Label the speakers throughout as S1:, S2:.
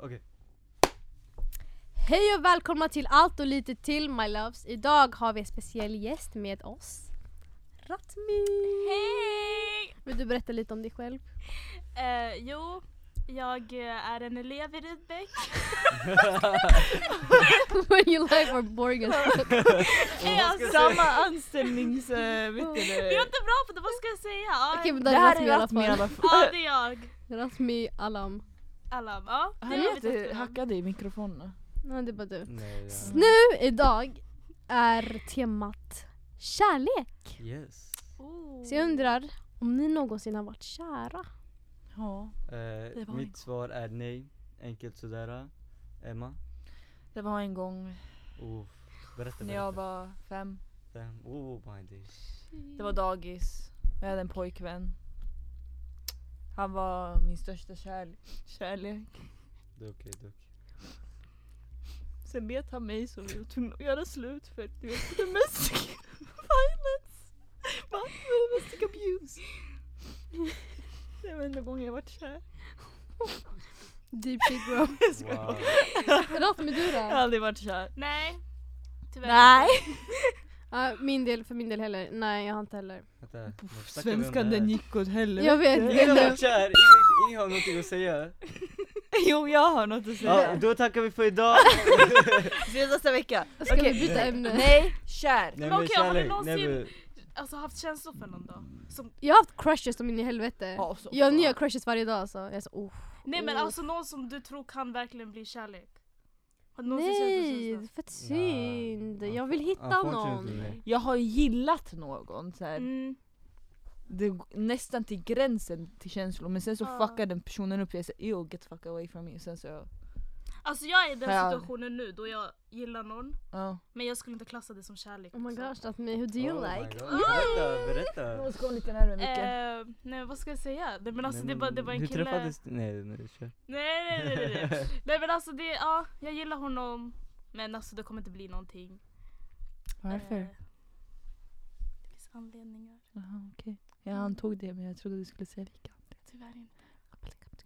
S1: okej.
S2: Hej och välkomna till allt och lite till my loves. Idag har vi en speciell gäst med oss. Ratmi!
S3: Hej!
S2: Vill du berätta lite om dig själv?
S3: Eh, jo, jag eh, är en elev i Rydbeck.
S2: When you life are boring as fuck.
S1: Om man ska säga-
S4: Samma anställnings... eh, vet du
S3: Jag är
S4: det?
S3: inte bra på det, vad ska jag säga? Ja,
S2: Okej men
S4: Det
S2: där är
S4: här är
S2: Ratmi i alla
S4: Rasmi i
S2: fall.
S4: alla fall.
S3: ja det är jag.
S2: Ratmi Alam.
S3: Alam, ja. det
S4: Ah, Han
S3: är mitt
S4: låter
S3: efternamn.
S4: hackad i mikrofonen.
S2: Nej det är bara du.
S1: Nej, ja.
S2: Nu idag är temat kärlek.
S1: Yes.
S3: Oh.
S2: Så jag undrar om ni någonsin har varit kära?
S4: Ja.
S1: Eh,
S4: var
S1: mitt
S4: min.
S1: svar är nej. Enkelt sådär. Emma?
S4: Det var en gång
S1: Oh, berätta,
S4: när jag
S1: berätta.
S4: var fem.
S1: Den- Oh my days.
S4: Det var dagis. Jag hade en pojkvän. Han var min största kärl- kärlek.
S1: Det är okej, det är okej.
S4: Sen bet han mig så vi var tvungna att göra slut för du vet domestic violence. Va? Domestic abuse. Det var enda gången jag varit kär.
S2: Deep shit bro.
S1: Wow.
S2: Ratmi du då?
S4: Jag har aldrig varit kär.
S3: Nej, tyvärr.
S4: Nej!
S2: Ja, min del, för min del heller. Nej jag har inte heller.
S1: Vänta, nu snackar vi om
S4: Svenskan
S1: det här.
S4: den gick åt helvete.
S2: Jag vet,
S1: Ingen har
S2: men-
S1: varit kär, ingen, ingen har någonting att säga.
S4: Jo jag har något att
S1: Ja,
S4: säga.
S1: då tackar vi för idag.
S4: Ses nästa vecka.
S2: Ska
S4: Okej.
S2: vi byta ämne?
S4: Nej, kär.
S1: Nej,
S3: Men
S1: men
S3: okej, har ni
S1: kärlek, nej, men-
S3: Alltså haft känslor för någon då? Som,
S2: Jag har haft crushes som in i helvete.
S4: Ja, så
S2: jag har
S4: fan.
S2: nya crushes varje dag alltså. Jag är så, oh.
S3: nej men
S2: Oh.
S3: alltså någon som du tror kan verkligen bli kärlek. Har du någonsin
S2: Nej,
S3: känt
S2: det
S3: det
S2: är fett synd.
S1: Nej,
S2: jag vill hitta
S1: unfortunately,
S2: någon.
S1: nej.
S4: Jag har gillat någon så här.
S3: mm.
S4: det går nästan till gränsen till känslor men sen så
S3: Ja.
S4: fuckar den personen upp jag säger yo get fuck away from me sen så
S3: Alltså jag är i
S4: Ja.
S3: den situationen nu då jag gillar någon.
S4: ja.
S3: Men jag skulle inte klassa det som kärlek.
S2: Oh my
S3: liksom.
S2: gosh, me. Who do you
S1: Oh my
S2: like?
S1: God, Berätta, berätta.
S4: Jag ska lite närmare micken.
S3: Eh, nej men vad ska jag säga? Nej, men alltså,
S1: Nej,
S3: det, var, det var en
S1: hur
S3: kille...
S1: träffades du? Nej, nej, kör.
S3: Nej nej nej nej, nej. nej men alltså det, ja jag gillar honom men alltså det kommer inte bli någonting. Eh,
S4: Varför?
S3: det finns anledningar.
S4: Jaha okej. Jag antog det men jag trodde du skulle säga lika.
S3: Tyvärr inte.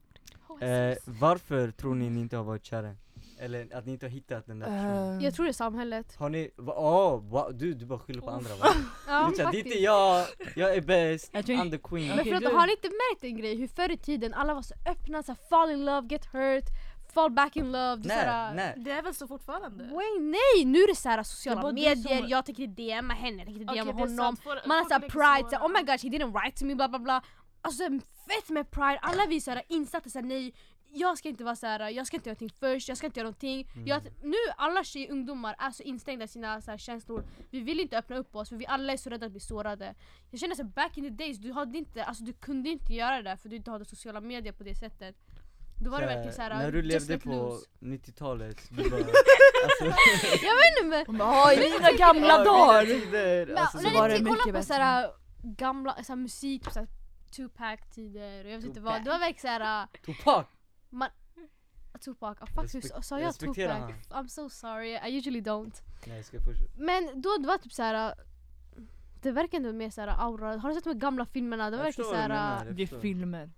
S1: Eh, varför tror ni ni inte har varit kära? Eller att ni inte har hittat den där personen?
S4: Eh,
S2: Jag tror det är samhället.
S1: Har ni, va- åh, va, du, du bara skyller på
S3: Oh.
S1: andra va?
S2: Ja,
S1: Du säger, det är
S2: faktiskt. Eh,
S1: inte jag, jag är bäst,
S4: Jag tror-
S1: I'm the queen.
S2: Men
S4: Okej,
S2: förlåt,
S4: du-
S2: har ni inte märkt en grej? Hur förr i tiden alla var så öppna, så här, fall in love, get hurt, fall back in love. Det är
S1: Nej,
S2: så här,
S1: nej.
S3: Det är väl så fortfarande?
S2: Wait, nej, nu är det så här sociala
S4: Det var du
S2: medier,
S4: som-
S2: jag tänker DMa henne, jag tänker
S3: Okej,
S2: DMa
S3: det är
S2: honom.
S3: sant. Folk-
S2: Man har
S3: folk
S2: såhär
S3: lägger
S2: pride,
S3: sina-
S2: såhär, oh my gosh he didn't write to me bla bla bla. Alltså fett med pride, alla vi är såhär insatta såhär nej, jag ska inte vara såhär, jag ska inte göra någonting först, jag ska inte göra någonting.
S1: Mm.
S2: Jag, nu alla tjejer, ungdomar är så instängda i sina såhär, känslor, vi vill inte öppna upp oss för vi alla är så rädda att bli sårade. Jag känner såhär back in the days, du, hade inte, alltså, du kunde inte göra det för du inte hade sociala medier på det sättet. Då var det
S1: Så här,
S2: verkligen såhär,
S1: När du
S2: just
S1: levde
S2: let
S1: på
S2: loose.
S1: 90-talet, du bara, alltså,
S2: Nej, men-
S4: Hon bara, "Ja, i mina gamla
S1: ja,
S4: dagar!
S1: "Ah, mina tider,
S2: Men
S1: alltså,
S2: när
S1: så
S2: ni
S1: var det
S2: tänker- kolla
S4: mycket
S2: på
S4: bättre.
S2: såhär äh, gamla såhär, musik, såhär, Tupac tider och jag vet inte vad. Det var verkligen såhär äh,
S1: Tupac!
S2: Tupac, oh, fuck
S1: Respek-
S2: hur sa jag Tupac?
S1: respektera
S2: I'm so sorry, I usually don't.
S1: Nej jag ska fortsätta.
S2: Men då det var typ såhär det verkar ändå mer såhär aura, har du sett de här gamla filmerna? Det var
S1: Jag förstår
S2: verkligen
S1: vad du menar,
S2: såhär äh,
S1: jag
S4: Det är
S1: förstår.
S4: filmer.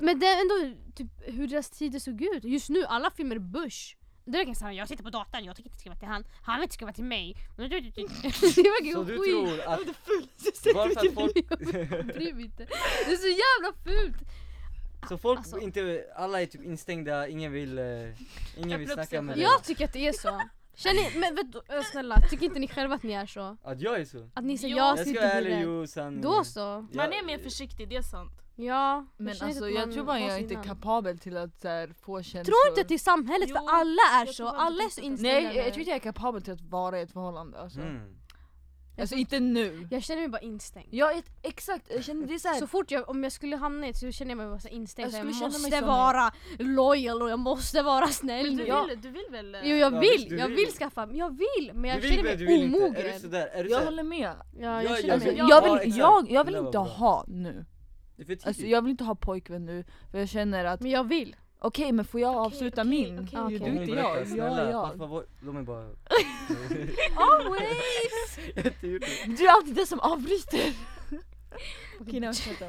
S2: Men det är ändå typ hur deras tider såg ut. Just nu, alla filmer är bush. Det är verkligen såhär, jag sitter på datorn, jag tänker inte skriva till han, han vill inte skriva till mig. Det är
S1: Så
S2: verkligen
S1: du tror
S2: skit,
S1: att,
S4: Varför?
S1: varför att folk,
S2: jag bryr mig inte. Det är så jävla fult!
S1: så folk
S2: Alltså.
S1: inte, alla är typ instängda, ingen vill, eh, ingen vill
S3: Öppna upp sig
S1: snacka med
S3: själv.
S1: dig.
S2: Jag tycker att det är så. Känner ni, men vet, du, ö, snälla, tycker inte ni själva att ni är så?
S1: Att jag är så?
S2: Att ni säger
S3: Jo.
S1: Jag
S2: jag ska
S1: ska
S2: inte
S1: vara
S2: bli
S1: ärlig,
S2: rädd.
S1: jo Mm. sanningen.
S2: Då så.
S3: Man
S1: Jag-
S3: är mer försiktig, det är sant.
S2: Ja.
S4: Men
S2: känner inte
S4: alltså
S2: att
S4: jag
S2: man
S4: tror bara
S2: har
S4: jag är
S2: så
S4: inte alltså-
S2: innan.
S4: kapabel till att så här, få känslor.
S2: Tror inte att det är samhället för
S3: Jo,
S2: alla är så,
S3: jag tror bara
S2: alla är
S3: inte
S2: så
S3: det.
S2: inställda.
S4: Nej jag, jag
S2: nu.
S4: tror inte jag är kapabel till att vara i ett förhållande alltså.
S1: Mm.
S4: Alltså inte nu.
S2: jag känner mig bara instängd.
S4: Jag är exakt, jag känner det är så här.
S2: Så fort jag, om jag skulle hamna i ett så känner jag mig bara så instängd.
S4: Jag
S2: så Jag,
S4: skulle
S2: jag
S4: känna mig
S2: måste
S4: som-
S2: vara loyal och jag måste vara snäll.
S3: Men
S2: nu.
S3: du
S2: Jag,
S3: vill, du vill väl? eh,
S2: jo jag
S1: Ja,
S2: vill,
S1: visst, du
S2: jag
S1: vill.
S2: vill skaffa, men jag vill men jag
S1: du
S2: känner
S1: vill,
S2: mig
S1: men du vill
S2: omogen.
S1: Inte. Är du sådär? Är du
S4: Jag
S1: såhär?
S4: håller med.
S2: Ja,
S1: Ja,
S2: jag
S1: ja,
S2: känner
S4: Alltså,
S2: mig.
S1: ja.
S4: jag,
S1: Ja, exakt.
S4: vill, jag, jag vill
S1: Det där var
S4: inte
S1: bra. Typ.
S4: ha nu.
S1: Det är för tidigt.
S4: Alltså, jag vill inte ha pojkvän nu för jag känner att
S2: Men jag vill.
S4: okej men får jag
S3: Okej,
S4: avsluta
S3: okej,
S4: min?
S3: okej,
S4: Ja,
S2: okej.
S4: Du
S1: Får
S4: är
S1: hon
S4: inte
S1: berätta?
S4: jag, jag
S1: Snälla,
S4: är
S1: jag.
S4: jag.
S1: Pappa, låt mig bara...
S4: Always!
S1: Jag har inte gjort det.
S4: Oh, Du är alltid den som avbryter. okej, nej, men shut up.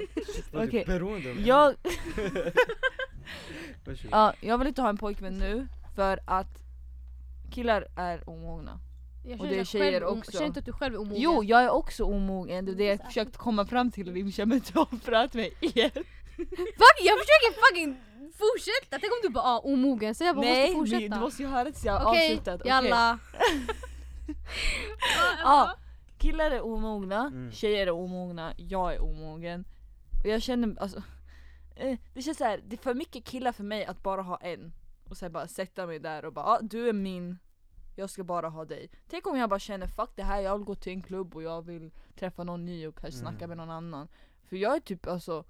S1: Jag är
S4: Okej.
S1: beroende av mig.
S4: Jag...
S1: Varsågod.
S4: Ja, jag vill inte ha en pojkvän nu för att killar är omogna.
S2: Jag
S4: Och
S2: känner
S4: det är
S2: att
S4: tjejer
S2: själv om-
S4: också.
S2: Känner inte att du själv är omogen?
S4: Jo, jag är också omogen. Det är det jag
S2: Så-
S4: försökt komma fram till i Rimsha men du avbröt mig igen.
S2: Fuck, jag försöker fucking fortsätta! Tänk om du bara ah, omogen, så jag bara
S4: Nej,
S2: måste fortsätta.
S4: men du måste ju höra tills jag har
S2: Okej,
S4: avslutat. Okej.
S2: jalla.
S4: Ja, killar är omogna,
S1: Mm.
S4: tjejer är omogna, jag är omogen. Och jag känner alltså, eh, det känns så här, det är för mycket killar för mig att bara ha en. Och sen bara sätta mig där och bara ah, du är min, jag ska bara ha dig. Tänk om jag bara känner fuck det här, jag vill gå till en klubb och jag vill träffa någon ny och kanske
S1: Mm.
S4: snacka med någon annan. För jag är typ alltså,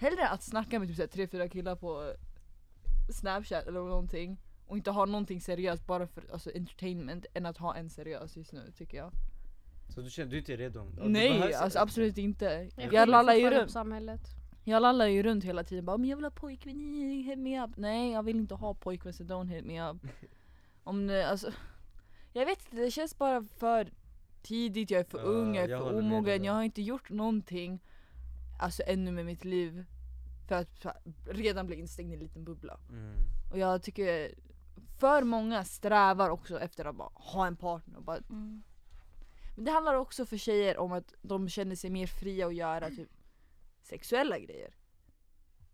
S4: hellre att snacka med typ så här tre, fyra killar på eh, snapchat eller någonting och inte ha någonting seriöst bara för alltså, entertainment än att ha en seriös just nu tycker jag.
S1: Så du känner du är inte redo? Ja, du
S4: Nej,
S1: behövs-
S4: alltså absolut inte.
S2: Jag
S4: Jag
S2: skyller
S4: lallar ju
S2: fortfarande på
S4: runt,
S2: samhället.
S4: jag lallar ju runt hela tiden bara men jag vill ha pojkvän, eh, hit me up. Nej jag vill inte ha pojkvän så don't hit me up. Om det, alltså, jag vet inte, det känns bara för tidigt, jag är för
S1: Ja,
S4: ung, jag är
S1: jag
S4: för
S1: håller med dig
S4: omogen,
S1: där.
S4: jag har inte gjort någonting alltså ännu med mitt liv för att så här, redan bli instängd i en liten bubbla.
S1: Mm.
S4: Och jag tycker för många strävar också efter att bara ha en partner och bara
S3: Mm.
S4: men det handlar också för tjejer om att de känner sig mer fria att göra typ sexuella grejer.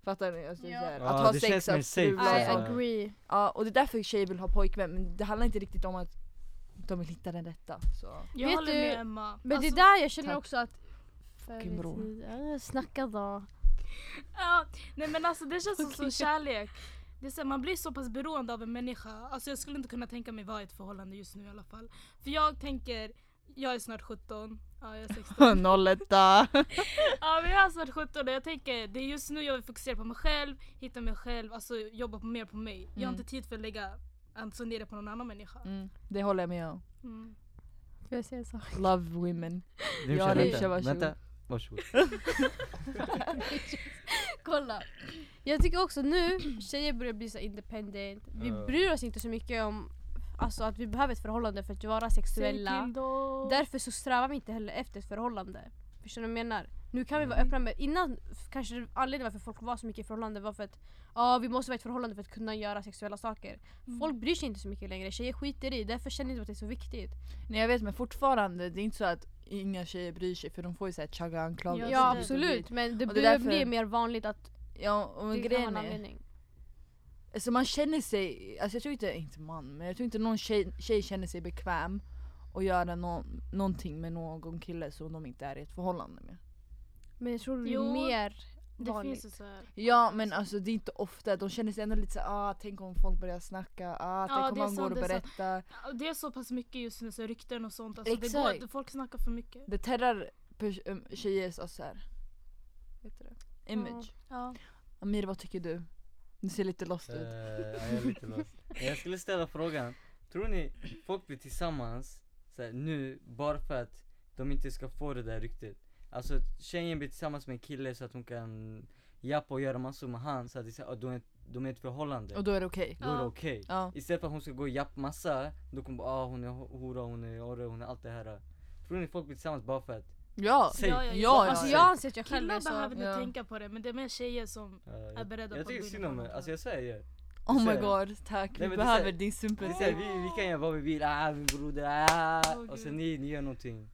S4: Fattar ni? Alltså,
S3: Ja.
S4: så här,
S1: Ja,
S4: att ha
S1: det
S4: sex
S1: känns mer
S4: att
S1: safe,
S4: strula.
S2: I
S1: Alltså-
S2: agree.
S4: Ja, och det är därför tjejer vill ha pojkvän men det handlar inte riktigt om att de vill hitta den rätta. Så.
S3: Jag
S2: Vet
S3: håller
S2: du-
S3: med Emma.
S2: Men
S3: Alltså,
S2: det där jag känner
S4: tack.
S2: också att... Förr
S4: Fucking
S2: i
S4: bror.
S2: tiden- Snacka då.
S3: Ja, nej men alltså det känns som
S4: Okej.
S3: så kärlek. Det är så här, man blir så pass beroende av en människa. Alltså jag skulle inte kunna tänka mig vara i ett förhållande just nu i alla fall. För jag tänker, jag är snart 17. Ja, jag är 16.
S4: Nolletta!
S3: Ja, men jag är snart 17 och jag tänker, det är just nu jag vill fokusera på mig själv, hitta mig själv, alltså jobba på mer på mig. Jag har
S4: Mm.
S3: inte tid för att lägga alltså ner det på någon annan människa.
S4: Mm, det håller jag med om.
S3: Mm.
S2: Får jag säga en sak?
S4: Love women.
S1: Nu
S4: Ja,
S1: kör-
S4: det-
S1: vänta,
S4: kör, varsågod.
S1: vänta. Varsågod.
S2: Kolla. Jag tycker också nu, tjejer börjar bli så independent. Vi
S1: Ja.
S2: bryr oss inte så mycket om alltså, att vi behöver ett förhållande för att vara sexuella. Därför så strävar vi inte heller efter ett förhållande. Förstår du vad jag menar? Nu kan vi vara öppna med, innan f- kanske anledningen varför folk var så mycket i förhållande var för att ja, vi måste vara i ett förhållande för att kunna göra sexuella saker.
S3: Mm.
S2: Folk bryr sig inte så mycket längre, tjejer skiter i därför känner de inte att det är så viktigt.
S4: Nej jag vet men fortfarande, det är inte så att inga tjejer bryr sig för de får ju såhär chugga anklagelser.
S3: Ja,
S2: Ja,
S3: det- det-
S2: absolut men det,
S4: och Alltså, det är
S2: börjar
S4: därför-
S2: bli mer vanligt att
S4: Ja, och
S2: det kan vara
S4: grejen
S2: en
S4: är,
S2: anledning.
S4: Alltså man känner sig, alltså jag tror inte, inte man, men jag tror inte någon tjej, tjej känner sig bekväm att göra nå någonting med någon kille som de inte är i ett förhållande med.
S2: Men jag tror det är
S3: Jo,
S2: mer
S3: Det
S2: vanligt.
S3: finns ju så här.
S4: Ja men alltså det är inte ofta, de känner sig ändå lite så här, ah tänk om folk börjar snacka, ah tänk
S3: Ja,
S4: om
S3: det är
S4: man går
S3: sant,
S4: och
S3: det är sant.
S4: berättar.
S3: Ja, Det är så pass mycket just nu, så här rykten och sånt. Alltså, det
S4: Exakt.
S3: går, folk snackar för mycket.
S4: Det terrar pers- äm, tjejers alltså så här, vet du det? Image.
S3: Ja.
S4: Amir vad tycker du? Du ser lite lost
S1: Eh,
S4: ut.
S1: ja, jag är lite lost. Men Jag skulle ställa frågan, tror ni folk blir tillsammans så här, nu bara för att de inte ska få det där ryktet? Alltså tjejen blir tillsammans med en kille så att hon kan jappa och göra massor med han så att det, är så här, ah, de, är, de är ett förhållande,
S4: Och då är det okej.
S1: då är det
S3: Ja.
S1: okej.
S4: Ja.
S1: Istället för att hon ska gå och jappa massa, då kommer bara ah, hon är ho- hora, hon är orre, hon är allt det här. Tror ni folk blir tillsammans bara för att?
S4: Ja.
S1: Säg.
S3: Ja, ja,
S4: Ja,
S2: Alltså
S4: ja.
S2: jag anser att jag själv är
S3: Killar
S2: så.
S3: behöver inte
S4: Ja.
S3: tänka på det, men det är mer tjejer som...
S1: Eh,
S3: är beredda
S1: jag,
S3: på
S1: jag
S3: att
S1: tycker
S3: gå in i
S1: synd om
S3: förhållanden.
S1: er, alltså jag säger det.
S4: Oh my
S1: ser.
S4: god, tack. Vi
S1: Nej, men det
S4: behöver
S1: ser-
S4: din
S1: Det är
S4: sympati.
S1: så här, vi, vi kan göra vad vi vill, ah min broder, ah.
S3: Åh,
S1: och
S3: gud.
S1: sen ni, ni gör någonting.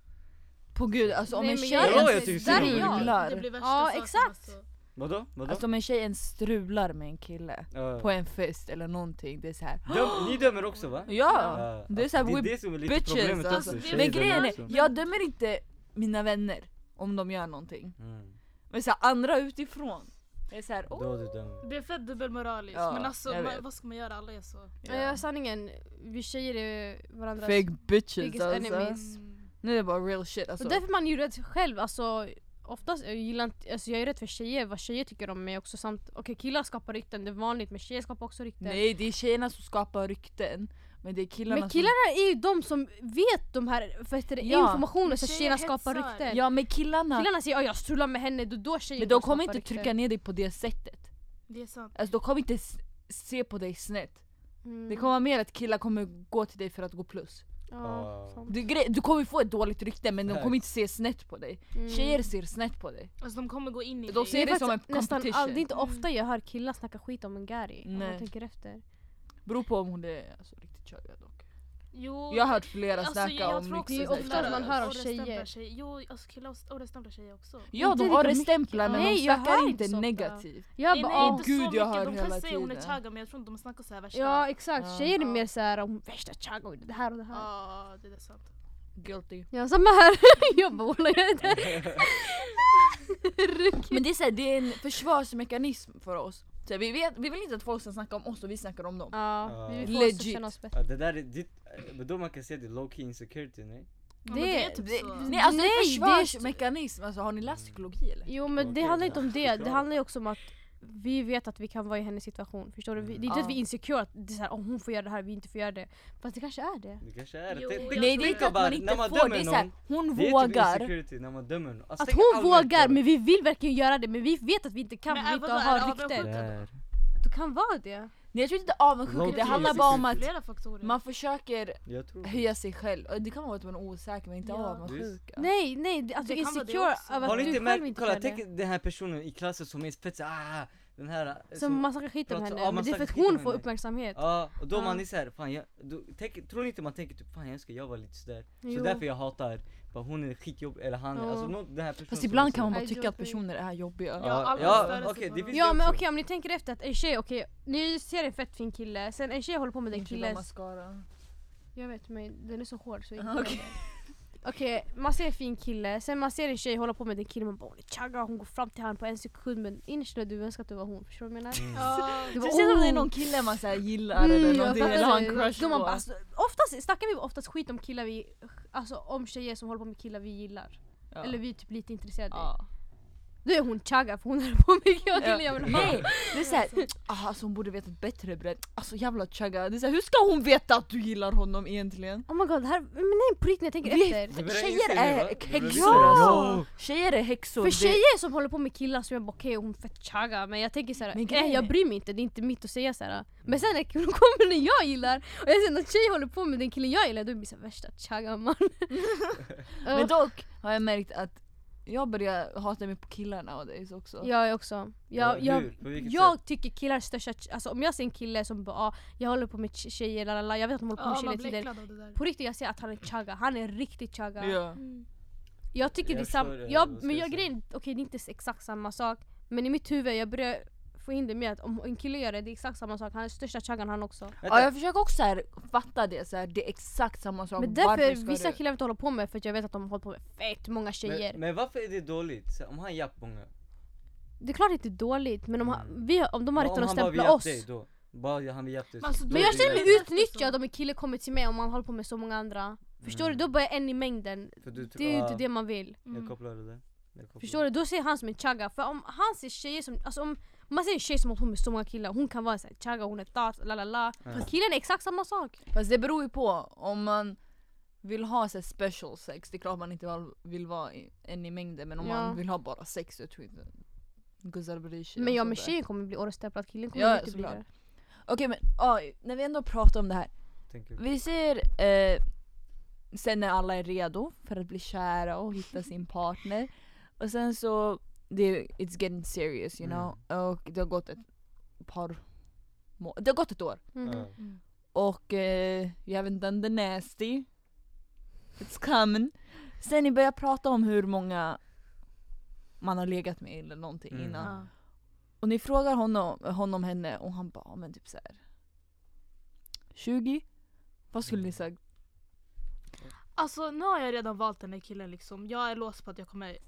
S4: På gud, alltså om
S2: Nej,
S4: en
S2: men
S4: tjej
S1: Ja,
S2: jag-
S1: jag
S4: ens
S1: tycker
S2: där
S1: synd om er.
S2: är jag.
S4: strular.
S3: Det blir värsta
S2: Ja,
S3: saken,
S2: exakt.
S3: Alltså.
S1: Vadå? Vadå?
S4: Alltså om en tjej ens strular med en kille
S1: Ja.
S4: på en fest eller någonting, det är så här.
S1: Döm, ni dömer också va? Alltså,
S4: Ja! det är så här,
S1: det är
S4: we
S1: det som är lite
S4: bitches,
S1: problemet
S4: alltså.
S1: också,
S3: Det är-
S1: tjejer
S4: Men
S1: dömer
S4: grejen
S1: också.
S4: är, jag dömer inte mina vänner om de gör någonting.
S1: Mm.
S4: Men så här, andra utifrån. Det är så här,
S1: Då
S4: oh.
S1: du dömer.
S3: Det är fett dubbelmoraliskt,
S4: Ja,
S3: men alltså
S4: jag
S3: man,
S4: vet.
S3: vad ska man göra? Alla är så.
S2: Ja, sanningen, vi tjejer är varandras
S4: Fake bitches
S2: biggest
S4: alltså.
S2: enemies.
S3: Mm.
S4: Nu är det bara real shit
S2: Och
S4: alltså.
S2: därför man är ju rädd själv, alltså oftast, jag gillar inte, alltså jag är rädd för tjejer, vad tjejer tycker om mig också samt, okej killar skapar rykten, det är vanligt men tjejer skapar också rykten.
S4: Nej det är tjejerna som skapar rykten. Men det är killarna,
S2: men killarna är ju de som vet de här vad heter det,
S4: Ja,
S2: informationen
S3: men
S2: så att
S3: tjejer
S2: tjejerna skapar
S3: hetsar.
S2: rykten.
S4: som... Ja men killarna,
S2: Killarna säger att jag strular med henne, då, då tjejer
S4: men
S2: börjar
S4: de kommer
S2: skapa
S4: inte
S2: rykten.
S4: trycka ner dig på det sättet.
S3: Det är sant.
S4: Alltså de kommer inte s- se på dig snett.
S2: Mm.
S4: Mm. Det kommer vara mer att killar kommer gå till dig för att gå plus.
S2: Ja,
S1: Ah.
S2: sant.
S4: Du, gre- du kommer få ett dåligt rykte men de kommer
S1: Tack.
S4: inte se snett på dig.
S2: Mm.
S4: Tjejer ser snett på dig.
S3: Alltså de kommer gå in i
S4: De
S3: dig.
S4: ser- det
S2: faktiskt
S4: som en
S2: nästan all-
S4: competition. Mm.
S2: Det är inte ofta jag hör killar snacka skit om en gary om
S4: Nej.
S2: jag tänker efter.
S4: Beror på om hon är alltså, riktigt körig dock.
S3: Jo,
S4: Jag har hört flera
S3: alltså,
S4: snacka
S3: jag
S4: om
S3: tror
S2: Det
S3: också
S2: är
S4: lyxigt.
S2: ofta
S3: killar
S2: man hör om
S3: åldersstämplar
S2: tjejer.
S3: sig. Jo, alltså killar åldersstämplar tjejer också.
S4: Ja
S2: Inte
S4: de
S2: lika
S4: orrestämplar
S2: mycket.
S4: men de
S2: Nej, jag
S4: snackar
S2: hör
S4: inte
S2: inte så ofta.
S4: negativt.
S2: Jag
S3: nej,
S2: bara,
S3: nej,
S2: "Ah,
S3: inte
S4: gud,
S3: så
S4: jag
S3: mycket.
S4: hör
S3: de
S4: hela
S3: kan säga hon är
S4: tiden.
S3: chaga men jag tror inte de snackar så här värsta.
S2: Ja exakt,
S4: Ja.
S2: tjejer är
S3: Ja.
S2: mer såhär om värsta chago och det här och det här.
S3: Ja, det är sant.
S4: Guilty.
S2: Ja samma här, jag bara "Walla, jag är där.
S4: Men det är, så här, det är en försvarsmekanism för oss. Så här, vi, vet, vi vill inte att folk ska snacka om oss och vi snackar om dem.
S2: Ja, vi vill få oss att
S4: Legit.
S2: känna oss bättre.
S1: Ja, det där är ditt, eh, men då man kan se det low key insecurity, nej?
S3: men det är typ
S4: det,
S3: så.
S4: nej alltså det
S2: Nej,
S4: är
S2: det är-
S4: en försvarsmekanism, alltså, har ni läst psykologi eller?
S2: Jo men det
S1: Okej,
S2: handlar inte
S1: ja.
S2: om det,
S1: Förklara.
S2: det handlar ju också om att vi vet att vi kan vara i hennes situation. Förstår du? Vi- Det är inte
S4: Ja.
S2: att vi är insecure, att det är såhär, om hon får göra det här vi inte får göra det. Fast det kanske är det.
S1: Det kanske är
S3: Jo,
S1: Tänk-
S3: jag
S1: tänk-
S4: Nej det är
S1: tänk
S4: inte att
S1: bara,
S4: man
S1: när
S4: inte
S1: man
S4: får,
S1: dömer
S4: det är såhär,
S1: någon,
S4: hon
S1: det är typ
S4: vågar.
S1: insecurity när man dömer någon. Alltså,
S2: Att
S1: tänk
S2: hon
S1: allmänt
S2: vågar
S1: på det.
S2: men vi vill verkligen göra det men vi vet att vi inte kan,
S3: Men
S2: vi
S3: är-
S2: inte
S3: vadå, är det
S2: har
S3: avundsjuk?
S2: rykten.
S1: Där.
S2: Du kan vara det.
S4: Nej jag tror inte det är avundsjuka,
S1: Low-key
S4: det handlar bara om att
S1: insecurity.
S3: typ Flera faktorer.
S4: man försöker
S1: Jag tror det.
S4: höja sig själv. Och Det kan vara att man är osäker men inte
S3: Ja.
S4: avundsjuka.
S2: Nej nej, det- alltså
S3: Det kan vara det
S2: insecure
S3: också.
S2: över
S1: Har
S2: att
S1: ni
S2: du
S1: inte
S2: själv
S1: märkt,
S2: inte
S1: kolla
S2: kan
S1: tänk
S2: det.
S1: den här personen i klassen som är spetsig, ah, den här eh,
S2: Som man snackar skit om
S1: pratar-
S2: henne,
S1: ja, man
S2: men det är för
S1: snackar
S2: att
S1: skit om
S2: hon får
S1: henne.
S2: uppmärksamhet.
S1: Ja, och då
S2: Ja.
S1: man är såhär, fan jag, då, tänk, tror ni inte man tänker typ fan jag önskar jag var lite sådär? Så
S2: Jo.
S1: därför jag hatar, bara hon är skitjobbig, eller han,
S2: Ja.
S1: alltså någon, den här personen
S4: Fast
S1: som är
S4: ibland
S1: så-
S4: kan man bara
S2: Nej,
S4: tycka
S2: jag
S4: att
S2: tror-
S4: personer är jobbiga.
S3: Ja,
S1: Ja,
S3: alla
S1: ja,
S3: stör sig
S1: okej
S3: på
S1: det
S3: dem.
S1: finns
S2: Ja
S1: det
S2: men
S1: också.
S2: okej om ni tänker efter att en tjej, okej ni ser en fett fin kille, sen en tjej håller på med den
S4: Inte de
S2: killen
S4: mascara.
S2: Jag vet men den är så hård så jag
S4: Ah,
S2: gillar
S4: okej.
S2: det. Okej, man ser en fin kille, sen man ser en tjej hålla på med den killen, man bara hon är chagga, hon går fram till han på en sekund men innerst inne du önskar att du var hon, förstår du vad jag menar?
S4: Mm.
S3: Ja,
S4: Det
S2: var-
S4: känns som det är
S2: oh.
S4: någon kille man så här gillar
S2: Mm,
S4: eller
S2: jag
S4: någonting
S2: fattar
S4: eller har
S2: det.
S4: en crush
S2: Då man bara,
S4: på.
S2: alltså, oftast snackar vi oftast skit om killar vi, alltså om tjejer som håller på med killar vi gillar.
S4: Ja.
S2: Eller vi är typ lite intresserade. av.
S4: Ja.
S2: Då är hon chagga för hon håller på med killar jag vill ha.
S4: Nej, det är såhär, ah, alltså hon borde veta bättre bredd. Alltså jävla chagga. Det är så här, hur ska hon veta att du gillar honom egentligen?
S2: Oh my god, det här, men nej på riktigt när jag tänker
S4: Vi-
S2: efter.
S1: Du börjar inse
S4: Tjejer
S1: nu, va?
S4: är
S1: Du börjar inse
S4: häxor
S1: det.
S4: alltså. Tjejer är häxor.
S2: För
S4: Det-
S2: tjejer som håller på med killar så är jag bara okej hon är fett chagga men jag tänker såhär,
S4: Men
S2: men
S4: grejen
S2: nej jag
S4: är-
S2: bryr mig inte, det är inte mitt att säga såhär. Men sen när killen kommer den jag gillar och jag ser någon tjej håller på med den killen jag gillar då blir jag såhär värsta chagga man.
S4: Men dock har jag märkt att jag börjar hata mig på killar nowadays också.
S2: Jag är också.
S1: Ja,
S2: Jag, jag,
S1: hur? På vilket
S2: jag tycker killar är största, alltså om jag ser en kille som bara ah, jag håller på med tje- tjejer, lalala, jag vet att de håller på med
S3: ja
S2: tjejer
S3: man
S2: hela
S3: blir
S2: tiden.
S3: äcklad av det där.
S2: På riktigt jag ser att han är chagga, han är riktigt chagga.
S4: Ja.
S2: Jag tycker
S1: Jag
S2: det är samma,
S1: förstår det,
S2: jag,
S1: vad ska
S2: men
S1: jag
S2: jag
S1: säga?
S2: grejen, okej det är inte exakt samma sak Men i mitt huvud, jag börjar få in det med att om en kille gör det, det är exakt samma sak Han är största chaggan han också
S4: Ja,
S1: Vänta,
S4: jag försöker också så här, fatta det, så här, det är exakt samma sak.
S2: Men
S4: Varför
S2: därför
S4: ska
S2: vissa
S4: du-
S2: killar jag inte håller på med för att jag vet att de håller på med fett många tjejer
S1: men, men varför är det dåligt? Så, om han är japp-bonga?
S2: Det är klart inte dåligt men om, han,
S1: Mm.
S2: vi, har- om de har rätten
S1: Om han
S2: att
S1: bara vill
S2: stämpla
S1: japp
S2: oss
S1: dig då? Bara han vill japp dig.
S3: Men alltså,
S1: då
S2: Men
S1: är
S2: jag
S1: det
S2: känner mig
S1: lätt.
S2: utnyttjad om en kille kommer till mig om han håller på med så många andra Förstår
S1: Mm.
S2: du? Då börjar en i mängden
S1: För du tror-
S2: Det är ju inte
S1: ah,
S2: det man vill
S1: Jag
S3: Mm.
S1: kopplar det där. Jag kopplar
S2: Förstår du? Då ser han som en chagga. För om han ser tjejer som, alltså om om man ser en tjej som håller på med så många killar, hon kan vara en sån här chagga, hon är tat, la la la.
S1: Ja.
S2: Fast killen är exakt samma sak.
S4: Fast det beror ju på om man vill ha så här, special sex, det är klart man inte val- vill vara i- en i mängden men om
S2: Ja.
S4: man vill ha bara sex jag tror inte Guzzar bryr sig
S2: men
S4: och
S2: jag med
S4: sådär.
S2: tjejen kommer bli åretstämplad, killen kommer
S4: Ja,
S2: inte bli
S4: såklart.
S2: det.
S4: Okej men ja, när vi ändå pratar om det här.
S1: Tänker-
S4: Vi ser eh, sen när alla är redo för att bli kära och hitta sin partner och sen så det, it's getting serious
S2: Mm.
S4: you know och det har gått ett par må- det har gått ett år
S2: Mhm.
S1: Ja.
S4: Och eh, jag vet inte, the nasty. It's coming. Sen ni börjar prata om hur många man har legat med eller någonting
S1: Mm.
S4: innan.
S3: Ja.
S4: Och ni frågar honom, honom henne och han bara, ja, men typ så här. 20? Vad skulle ni sagt?
S3: Alltså nu har jag redan valt den här killen liksom. Jag är låst på att jag kommer,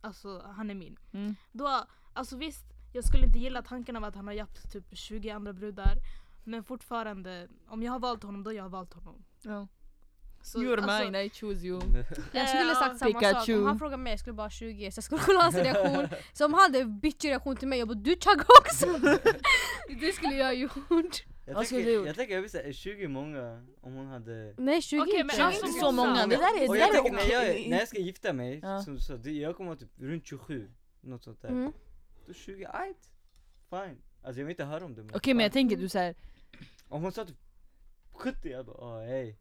S3: alltså han är min.
S4: Mm.
S3: Då, alltså visst, jag skulle inte gilla tanken av att han har japt typ 20 andra brudar. Men fortfarande, om jag har valt honom då jag har valt honom.
S4: Ja.
S3: Så,
S4: You're
S3: alltså,
S4: mine, I choose you.
S2: Jag skulle
S3: Ja.
S2: sagt samma sak.
S4: Pikachu.
S2: Om han frågar mig jag skulle bara 20 så jag skulle kolla hans reaktion. Så om han hade en bitchig reaktion till mig jag bara du chagga också. det skulle jag gjort.
S1: Jag
S4: Vad skulle
S1: tänker-
S4: du gjort?
S1: Jag tänker jag vill säga 20 många om hon hade
S2: Nej 20
S3: Okej, men
S2: inte.
S4: Jag har inte
S3: alltså,
S4: så många, det där är, det
S1: Och
S4: där
S1: jag
S4: är
S1: tänker när
S4: okej.
S1: jag, när jag ska gifta mig,
S4: Ja.
S1: som, så, det, jag kommer vara typ runt 27, något sånt där.
S2: Mm.
S1: Då 20, ajt, fine. Alltså jag vill inte höra om det men
S4: Okej men jag
S1: fine.
S4: tänker du såhär,
S1: Om hon sa typ 70, jag bara, åh hej.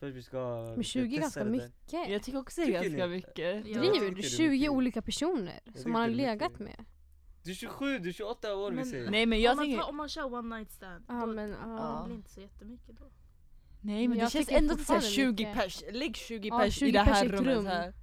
S1: För att vi ska
S2: Men 20
S1: testa
S2: är ganska
S1: det där.
S2: mycket.
S4: Jag tycker också det är
S1: Tycker
S4: ganska
S1: ni?
S4: mycket.
S3: Ja.
S1: jag
S2: Driver
S1: tycker det
S2: du?
S1: är
S2: 20
S1: mycket.
S2: olga personer
S1: tycker
S2: som man har
S1: det är
S2: legat
S1: mycket.
S2: med?
S1: Du är 27, du är 28 år
S3: Men-
S1: vi säger.
S4: Nej men
S3: om,
S4: jag
S3: man,
S4: tänker,
S3: tar- om man kör one night stand,
S2: Ja
S3: då
S2: men
S4: Ja.
S2: ja.
S3: det blir inte så jättemycket då.
S4: nej men det
S2: Jag
S4: känns
S2: tycker
S4: ändå såhär
S2: fortfarande
S4: 20
S2: mycket.
S4: pers, lägg 20
S2: Ja,
S4: pers i
S2: 20
S4: det
S2: pers
S4: här
S2: i ett
S4: rummet
S2: rum.
S4: här.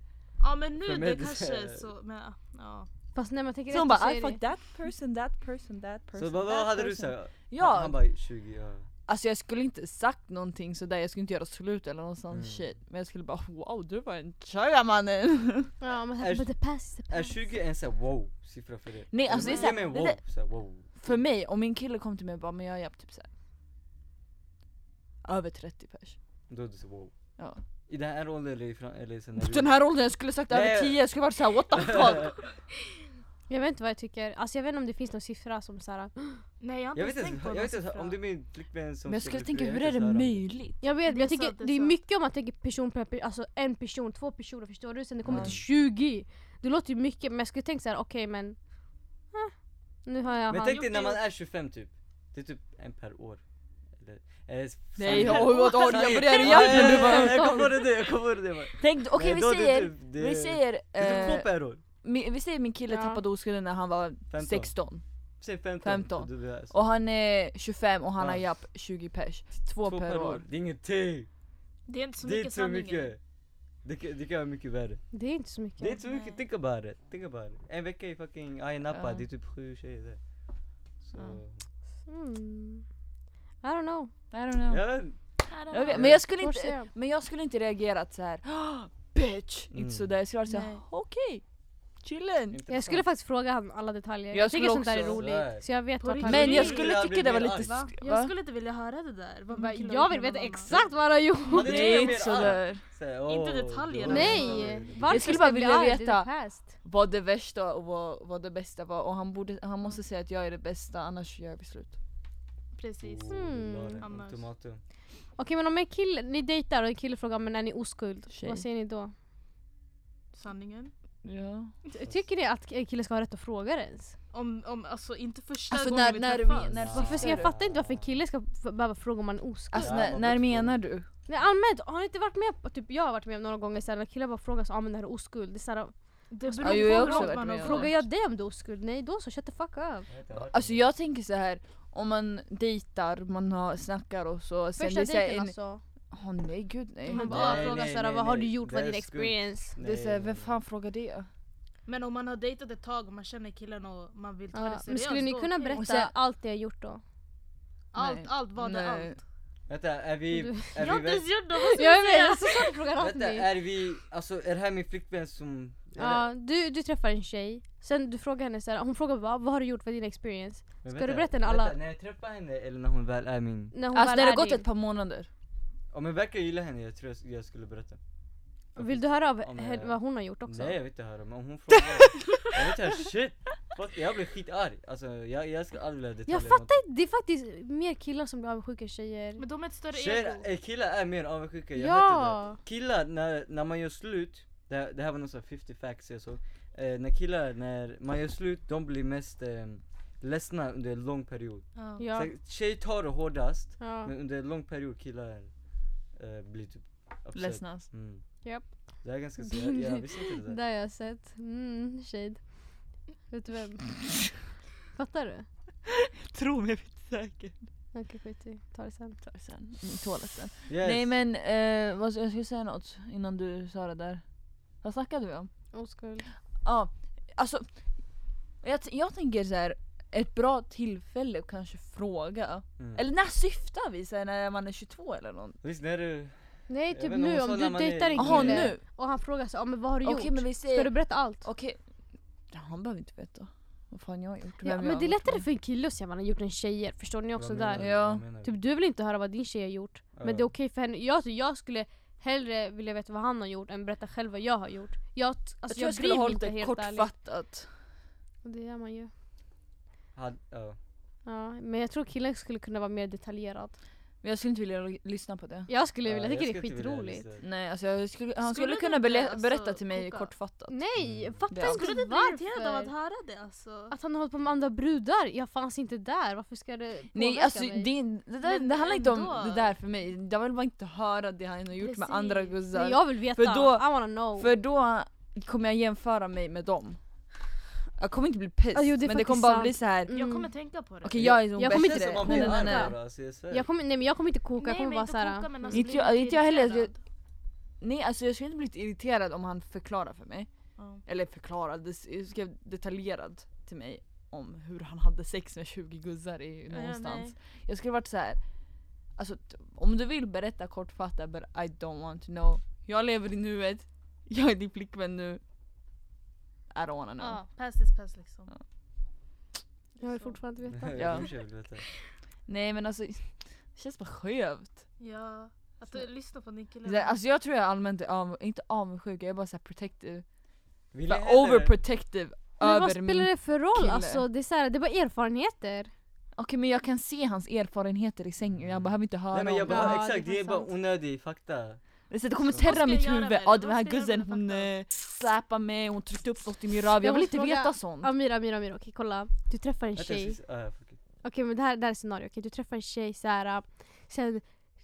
S3: Ja men nu
S1: För mig är
S3: det
S1: det så
S3: kanske
S1: här-
S3: är så, men ja.
S2: Fast när man tänker
S4: Så hon
S2: efter så
S4: bara I
S2: är det...
S4: fuck that person, that person, that person.
S1: Så vad,
S4: that
S1: vad hade du
S4: person.
S1: sagt? Han,
S4: Ja,
S1: han bara 20, ja.
S4: alltså jag skulle inte sagt någonting sådär, jag skulle inte göra slut eller någon sån
S1: Mm.
S4: shit. Men jag skulle bara wow du var en tjej mannen.
S2: Ja men
S1: Är-
S2: här, but the past is the
S1: Är
S2: past.
S1: 20 en sån här wow-siffra för det?
S4: Nej, alltså det är så här-
S1: Ge mig en
S4: det
S1: wow,
S4: där-
S1: så här, wow.
S4: För mig, om min kille kom till mig och bara men jag är japp", typ såhär. Över 30 pers.
S1: Då är det så wow.
S4: Ja.
S1: I den här åldern eller, i fram- eller sen när du...
S4: Den här åldern jag skulle sagt
S1: Nej,
S4: över
S1: jag-
S4: 10, jag skulle varit såhär what the fuck.
S2: Jag vet inte vad jag tycker. Alltså jag vet inte om det finns någon siffra som såhär...
S3: Nej jag har inte
S1: jag vet
S3: ens tänkt
S1: inte,
S3: på
S1: jag
S3: någon
S1: vet inte
S3: siffra.
S1: om det är min flickvän som
S4: Men jag
S1: ska
S4: skulle
S1: bli
S4: tänka
S1: fru,
S4: hur
S1: jag
S4: är det
S1: vet inte så här om-
S4: möjligt?
S2: Jag vet,
S3: Det
S2: men jag
S3: är
S2: tycker
S3: sant, det är
S2: det är
S3: sant.
S2: mycket om man tänker person per person, alltså en person, två personer förstår du? Sen det kommer
S4: Ja.
S2: till 20. Det låter ju mycket men jag skulle tänka såhär okej men... eh, nu har jag
S1: Men
S2: han.
S1: tänk dig
S3: gjort
S1: när
S3: det
S1: man
S3: ju.
S1: är 25 typ. Det är typ en per år. Eller, eller s-
S4: Nej,
S1: samma-
S4: åh, vad har jag på det här
S1: Nej,
S4: jävla-
S1: nej,
S4: du
S1: nej,
S4: bara-
S1: nej, Jag kom på det nu, jag kom på det nu. bara.
S4: Tänk, okej
S1: Nej, då är
S4: vi
S1: det
S4: säger,
S1: typ- det-
S4: vi säger,
S1: Det är typ
S4: eh,
S1: två per år.
S4: min, vi säger min kille
S2: Ja.
S4: tappade oskulden när han var
S1: 15.
S4: 16
S1: Säg 15.
S4: 15.
S1: Du, du, alltså,
S4: och han är 25 och han
S1: Ja.
S4: har japp 20 pers. Två,
S1: två
S4: per, år.
S1: Det är ingenting.
S3: Det är inte så
S1: det är
S3: mycket
S1: inte så
S3: sanning. i det.
S1: mycket. Det kan, det kan vara mycket värre.
S2: Det är inte så mycket.
S1: Det är inte så mycket,
S3: Nej.
S1: think about it. Think about it. En vecka i fucking Ayia Napa,
S4: Ja.
S1: det är typ sju tjejer där. Så,
S2: Mm. I don't know.
S4: I don't know.
S1: jag vet inte.
S3: I don't
S4: Jag vet,
S3: know.
S4: men, jag skulle
S2: Svårt att
S4: inte,
S2: säga.
S4: men jag skulle inte reagerat så här. "Ah, bitch!
S1: Mm.
S4: Inte sådär, jag skulle varit
S3: Nej.
S4: såhär okej, chillen.
S2: Jag skulle faktiskt fråga han alla detaljer.
S4: Jag
S2: Jag, tycker
S4: skulle
S2: sånt där är
S4: också.
S1: Nej.
S2: roligt. Så jag vet
S3: På
S2: vart han
S3: riktigt?
S4: Men
S2: är.
S4: jag
S1: blir-
S4: skulle
S1: jag
S4: tycka det
S1: blir
S4: var
S1: mer
S4: lite...
S1: arg.
S4: sk-
S3: Jag
S4: Va?
S3: skulle inte vilja höra det där. vad
S2: Bara,
S3: min kille
S2: Jag
S3: har
S2: vill
S3: gjort med
S2: veta
S3: någon
S2: exakt vad han har gjort.
S1: Men det
S4: Det
S1: är
S4: är
S1: mer
S4: inte
S1: arg.
S4: sådär.
S1: Så här, åh,
S3: Inte detaljer,
S1: du-
S2: Nej! Varför
S4: skulle
S2: ska
S4: bara
S2: jag bli
S4: vilja
S2: arg? Det är the
S4: veta.
S2: past.
S4: Vad det värsta och vad, vad det bästa var och han, borde, han måste säga att jag är det bästa annars gör jag beslut.
S3: annan. Precis.
S1: Åh, du la det.
S2: Mm.
S1: En Tomatum.
S2: Okej men om en kille, ni dejtar och en kille frågar men är ni oskuld?
S4: Tjej.
S2: Vad säger ni då?
S3: Sanningen.
S4: Ja.
S2: Ty- Tycker ni att en kille ska ha rätt att fråga det ens?
S3: Om, om, alltså inte första
S4: Alltså,
S3: gången
S4: när-
S3: vi
S4: när vi-
S3: träffas.
S4: när-
S2: Varför ska jag
S4: du?
S2: fattar inte varför en kille ska f- behöva fråga om man är oskuld.
S4: Alltså
S1: Ja,
S4: när,
S1: man
S4: när
S1: vet
S4: menar du?
S2: Nej, allmänt, har ni inte varit med på, typ jag har varit med om några gånger såhär, när killar bara frågar så, ah, men är du oskuld? Det är såhär,
S3: Det beror
S4: Ja, jo, jag har
S3: på
S4: också
S3: hur långt
S4: varit
S3: man
S4: med
S3: har
S4: om det.
S2: frågar
S3: frågat.
S2: jag dig om du är oskuld? Nej då så, shut the fuck up.
S1: Jag vet inte, jag har hört
S4: Alltså
S1: om
S4: jag tänker så här om man dejtar, man har, snackar och så. Sen
S2: Första
S4: det är så här
S2: dejten
S4: en,
S2: alltså.
S4: Åh nej gud nej.
S2: Man
S3: Men
S2: bara
S1: nej,
S2: frågar
S1: nej,
S2: såhär,
S1: nej,
S2: vad har
S1: nej.
S2: du gjort?
S1: Det
S2: Vad är
S1: är
S2: din
S1: skumt.
S2: experience?
S1: det.
S4: Det är såhär,
S1: Nej.
S4: vem fan frågar det?
S3: Men om man har dejtat ett tag och man känner killen och man vill ta
S2: Ja,
S3: det alltså.
S2: men
S3: seriöst.
S2: skulle ni
S3: då
S2: kunna
S3: okej.
S2: berätta
S4: Och sen-
S2: allt det jag gjort då?
S3: Allt,
S4: Nej.
S3: allt vad det
S4: Nej.
S3: allt.
S1: Vänta, är vi...
S2: Du-
S1: Är
S3: Jag har
S1: vi
S3: inte
S1: väl-
S3: ens gjort det, vad ska
S2: Jag
S3: jag
S2: är med,
S3: säga?
S2: alltså sånt frågar allt
S1: Vänta,
S2: mig.
S1: är vi... Alltså är det här min flickvän som...
S2: Ja, du, du träffar en tjej, sen du frågar henne såhär, hon frågar bara, vad har du gjort? Vad är din experience?
S1: Men
S2: Ska
S1: vänta,
S2: du berätta när alla-
S1: Vänta, när jag träffar henne eller när hon väl är min...
S2: När hon
S4: Alltså
S2: väl
S4: när det
S2: är
S4: har gått
S2: din.
S4: ett par månader.
S1: Om jag verkar gilla henne, jag tror jag, s- jag skulle berätta.
S2: Vill du höra av
S1: Om jag-
S2: henne vad hon har gjort också?
S1: Nej jag vill inte höra, men om hon frågar... jag vill inte höra shit! Fuck, jag blir skitarg. Alltså jag, jag ska aldrig vilja detaljer.
S2: Jag fattar Det är faktiskt mer killar som blir avundsjuka än tjejer.
S3: Men de är ett större ego.
S1: Tjejer, eh, killar är mer avundsjuka, jag vet
S2: ja!
S1: inte det. Killar, när, när man gör slut, det, här- det här var någon sån här 50 facts jag såg. Eh, när killar, när man gör slut, de blir mest eh, ledsna under en lång period.
S3: Ja.
S2: Ja.
S1: Så, tjej tar det hårdast,
S2: ja.
S1: men under en lång period killar eh, blir typ upset.
S4: Ledsnas.
S1: Mm.
S2: Japp.
S1: Det är ganska så, jag, jag visste inte det
S2: Det
S1: där.
S2: har jag sett. Mm, shade. Vet du vem? Fattar du?
S4: Tro mig, jag vet säkert.
S2: Okej skit i, ta det sen.
S4: Tar sen, i toaletten.
S1: Yes.
S4: Nej men eh, vad, jag skulle säga något innan du sa det där. Vad snackade vi om?
S2: Oskuld.
S4: Ja, alltså jag, t- jag tänker så här ett bra tillfälle att kanske fråga.
S1: Mm.
S4: Eller när syftar vi? Så här, när man är 22 eller något?
S1: Visst när du...
S2: Nej
S1: Jag
S2: typ
S1: vet inte,
S2: nu
S1: hon
S2: om
S1: sa
S2: du
S1: när man är-
S2: dejtar en kille
S4: Jaha nu?
S2: och han frågar så, ah, men vad har du
S4: Okej
S2: gjort?
S4: men vi
S2: Ska du
S4: säger...
S2: berätta allt?
S4: Okej. Ja, Han behöver inte veta. Vad fan jag har gjort.
S2: Ja,
S4: vem jag
S2: men det är
S4: har varit
S2: lättare
S4: med.
S2: för en kille att säga vad han har gjort än tjejer, förstår ni också
S1: Vad menar
S2: där?
S1: du?
S4: Ja.
S1: Vad menar du?
S2: Typ du vill inte höra vad din tjej har gjort, men det är
S1: Ja.
S2: okej för henne. Jag, alltså, jag skulle hellre vilja veta vad han har gjort än berätta själv vad jag har gjort. Jag, t-
S4: Jag
S2: alltså,
S4: tror
S2: jag,
S4: jag skulle
S2: bryr
S4: ha
S2: mig inte
S4: lite
S2: helt ärligt.
S4: kortfattat.
S2: Och Det gör man ju.
S1: Had, ja.
S2: Ja, men jag tror killen skulle kunna vara mer detaljerad.
S4: Men jag skulle inte vilja li- lyssna på det.
S2: Jag skulle
S1: Ja,
S2: vilja, jag
S1: jag
S2: tycker det är
S1: skulle inte vilja
S2: skitroligt.
S1: lyssna.
S4: Nej alltså jag skulle, han
S3: Skulle
S4: skulle,
S3: du
S4: kunna
S3: inte,
S4: bele-
S3: alltså,
S4: berätta till mig
S3: koka?
S4: kortfattat.
S2: Nej,
S1: Mm.
S2: jag fattar
S4: Ja.
S2: inte
S3: Skulle du bli irriterad av att
S2: varför.
S3: höra det alltså?
S2: Att han har hållit på med andra brudar, jag fanns inte där, varför ska det påverka
S4: Nej alltså
S2: mig?
S4: det, det, där,
S3: Men
S4: det handlar inte om
S3: ändå.
S4: det där för mig. Jag vill bara inte höra det han har gjort med
S3: Precis.
S4: andra
S2: Nej,
S4: guzzar.
S2: jag vill veta,
S4: För då-
S2: I wanna know.
S4: För då kommer jag jämföra mig med dem. Jag kommer inte bli pissed
S2: Ah, jo, det är
S4: men det
S2: faktiskt
S4: kommer bara
S2: sant.
S4: bli så här. okej
S2: Mm.
S3: Jag kommer tänka på det.
S4: jag är nog
S2: Jag
S4: bäst
S2: kommer
S4: i
S2: inte-
S4: det.
S2: man
S4: Nej,
S2: blir
S4: nej, nej.
S1: arg alltså, jag svär.
S2: Jag kommer, nej men jag kommer inte koka, jag
S3: Nej,
S2: kommer
S3: men
S2: bara
S3: inte
S2: såhär...
S3: koka men alltså
S4: Inte
S3: bli
S4: jag- inte jag heller, alltså,
S3: irriterad.
S4: nej alltså jag skulle inte blivit irriterad om han förklarar för mig.
S3: Ja.
S4: Eller förklarade, s- skrev detaljerad till mig om hur han hade sex med 20 guzzar i,
S3: Ja,
S4: någonstans.
S3: nej.
S4: Jag skulle varit så här. Alltså, t- om du vill berätta kortfattat but I don't want to know. Jag lever i nuet, jag är din flickvän nu. I don't wanna know.
S3: Ja, pass is pass liksom.
S4: Ja.
S2: Jag vill fortfarande veta.
S4: Ja.
S1: Jag kommer köpa biljetter.
S4: Nej men alltså, det känns bara skevt.
S3: Ja, att du lyssnar på din kille.
S4: Så här, Alltså jag tror jag allmänt är av, inte avundsjuk, jag är bara såhär protective.
S1: Vill
S4: Bara
S1: jag hellre-
S4: overprotective
S2: Men vad
S4: över min...
S2: spelar det för roll?
S4: kille.
S2: Alltså, det, är så här, det är bara erfarenheter.
S4: Okej men jag kan se hans erfarenheter i sängen, jag behöver inte höra
S1: Mm. Nej men
S4: om
S1: jag
S4: det.
S1: bara,
S2: Ja, det är
S1: exakt det är
S2: fan
S1: bara
S2: sant.
S1: onödig fakta.
S4: Det är så att det kommer
S1: Så-
S4: terra
S3: Vad ska
S4: mitt
S3: jag göra
S4: huvud.
S3: med
S4: Ja
S3: det?
S4: den
S3: Vad
S4: här
S3: ska jag
S4: guzzen
S3: göra med
S4: hon
S3: det?
S4: eh, släpade mig, hon tryckte upp något i min röv. Jag,
S2: Jag
S4: vill
S2: måste
S4: inte veta
S2: fråga-
S4: sånt.
S2: Amira, Amira, Amira. Okej kolla. Du träffar en
S1: Vänta, Mm. jag
S2: tjej.
S1: ska- ah, ja, fuck it.
S2: Okej men det här, det här är scenario. Okej, du träffar en tjej såhär. äh, Sen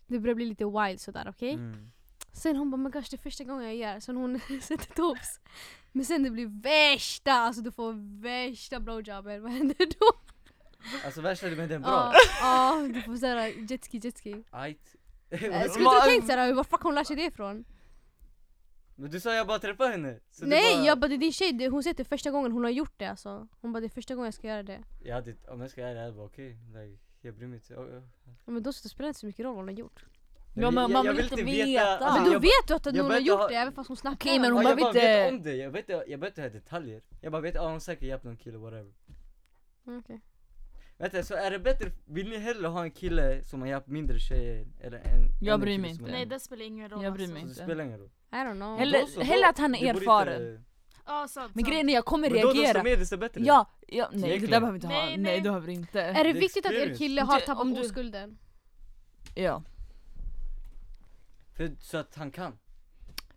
S2: det börjar bli lite wild sådär okej?
S1: Mm.
S2: Sen hon bara men gosh det är första gången jag gör. Sen hon sätter tops. Men sen det blir värsta, alltså du får värsta blowjobben. Vad händer då?
S1: Alltså värst är det med den
S2: Ja,
S1: bra.
S2: ja, du får äh, såhär jetski jetski.
S1: Ajt.
S4: Eh,
S2: Jag skulle inte ha tänkt såhär, var fuck hon lär sig det ifrån?
S1: Men du sa jag bara träffade henne. Så det
S2: Nej
S1: bara,
S2: jag bara det är din tjej, det- hon säger att det är första gången hon har gjort det alltså. Hon bara det är första gången jag ska göra det.
S1: Jag hade, om jag ska vara ärlig, jag hade bara okej. Like, jag bryr mig inte. Oh, oh.
S2: Ja, Men då så det spelar inte så mycket roll vad hon har gjort.
S4: Ja, men man vill inte veta.
S2: Men
S4: Ja,
S2: då
S1: typ jag,
S2: vet du att
S1: jag
S2: hon har
S1: behöver
S2: gjort
S1: ha-
S2: det även fast hon snackar
S4: Okej, men
S2: om
S4: hon
S1: ja,
S2: det.
S1: jag
S4: behöver
S1: bara
S4: inte-
S1: vet om det. Jag vet jag behöver inte ha detaljer. Jag bara vet, ja hon säkert hjälpt någon kille whatever.
S2: Mm, okej.
S1: Vänta, så är det bättre, vill ni hellre ha en kille som har hjälpt mindre tjejer? Eller en,
S4: Jag
S1: än en
S4: bryr
S1: kille
S4: mig
S1: som
S4: inte.
S1: har-
S3: Nej det spelar ingen roll
S4: Jag bryr
S3: alltså.
S4: mig
S1: Så det
S4: inte.
S1: spelar ingen roll.
S2: I don't know.
S4: Hellre,
S1: Då så, då-
S4: hellre att han
S1: Du
S4: är
S1: borde
S4: erfaren.
S1: inte-
S3: Ja sant.
S4: Men
S3: sant.
S4: grejen är jag kommer
S1: Men då de
S4: reagera.
S1: som är det, desto bättre.
S4: Ja, ja, nej det
S1: Egentligen.
S4: där behöver vi inte ha.
S3: Nej,
S4: Nej,
S3: nej.
S4: det behöver vi
S2: Är
S4: inte.
S2: det
S1: The
S2: viktigt att er
S1: experience.
S2: kille har
S4: Du-
S2: tappat
S4: om du-
S2: oskulden?
S4: Ja.
S1: För, så att han kan.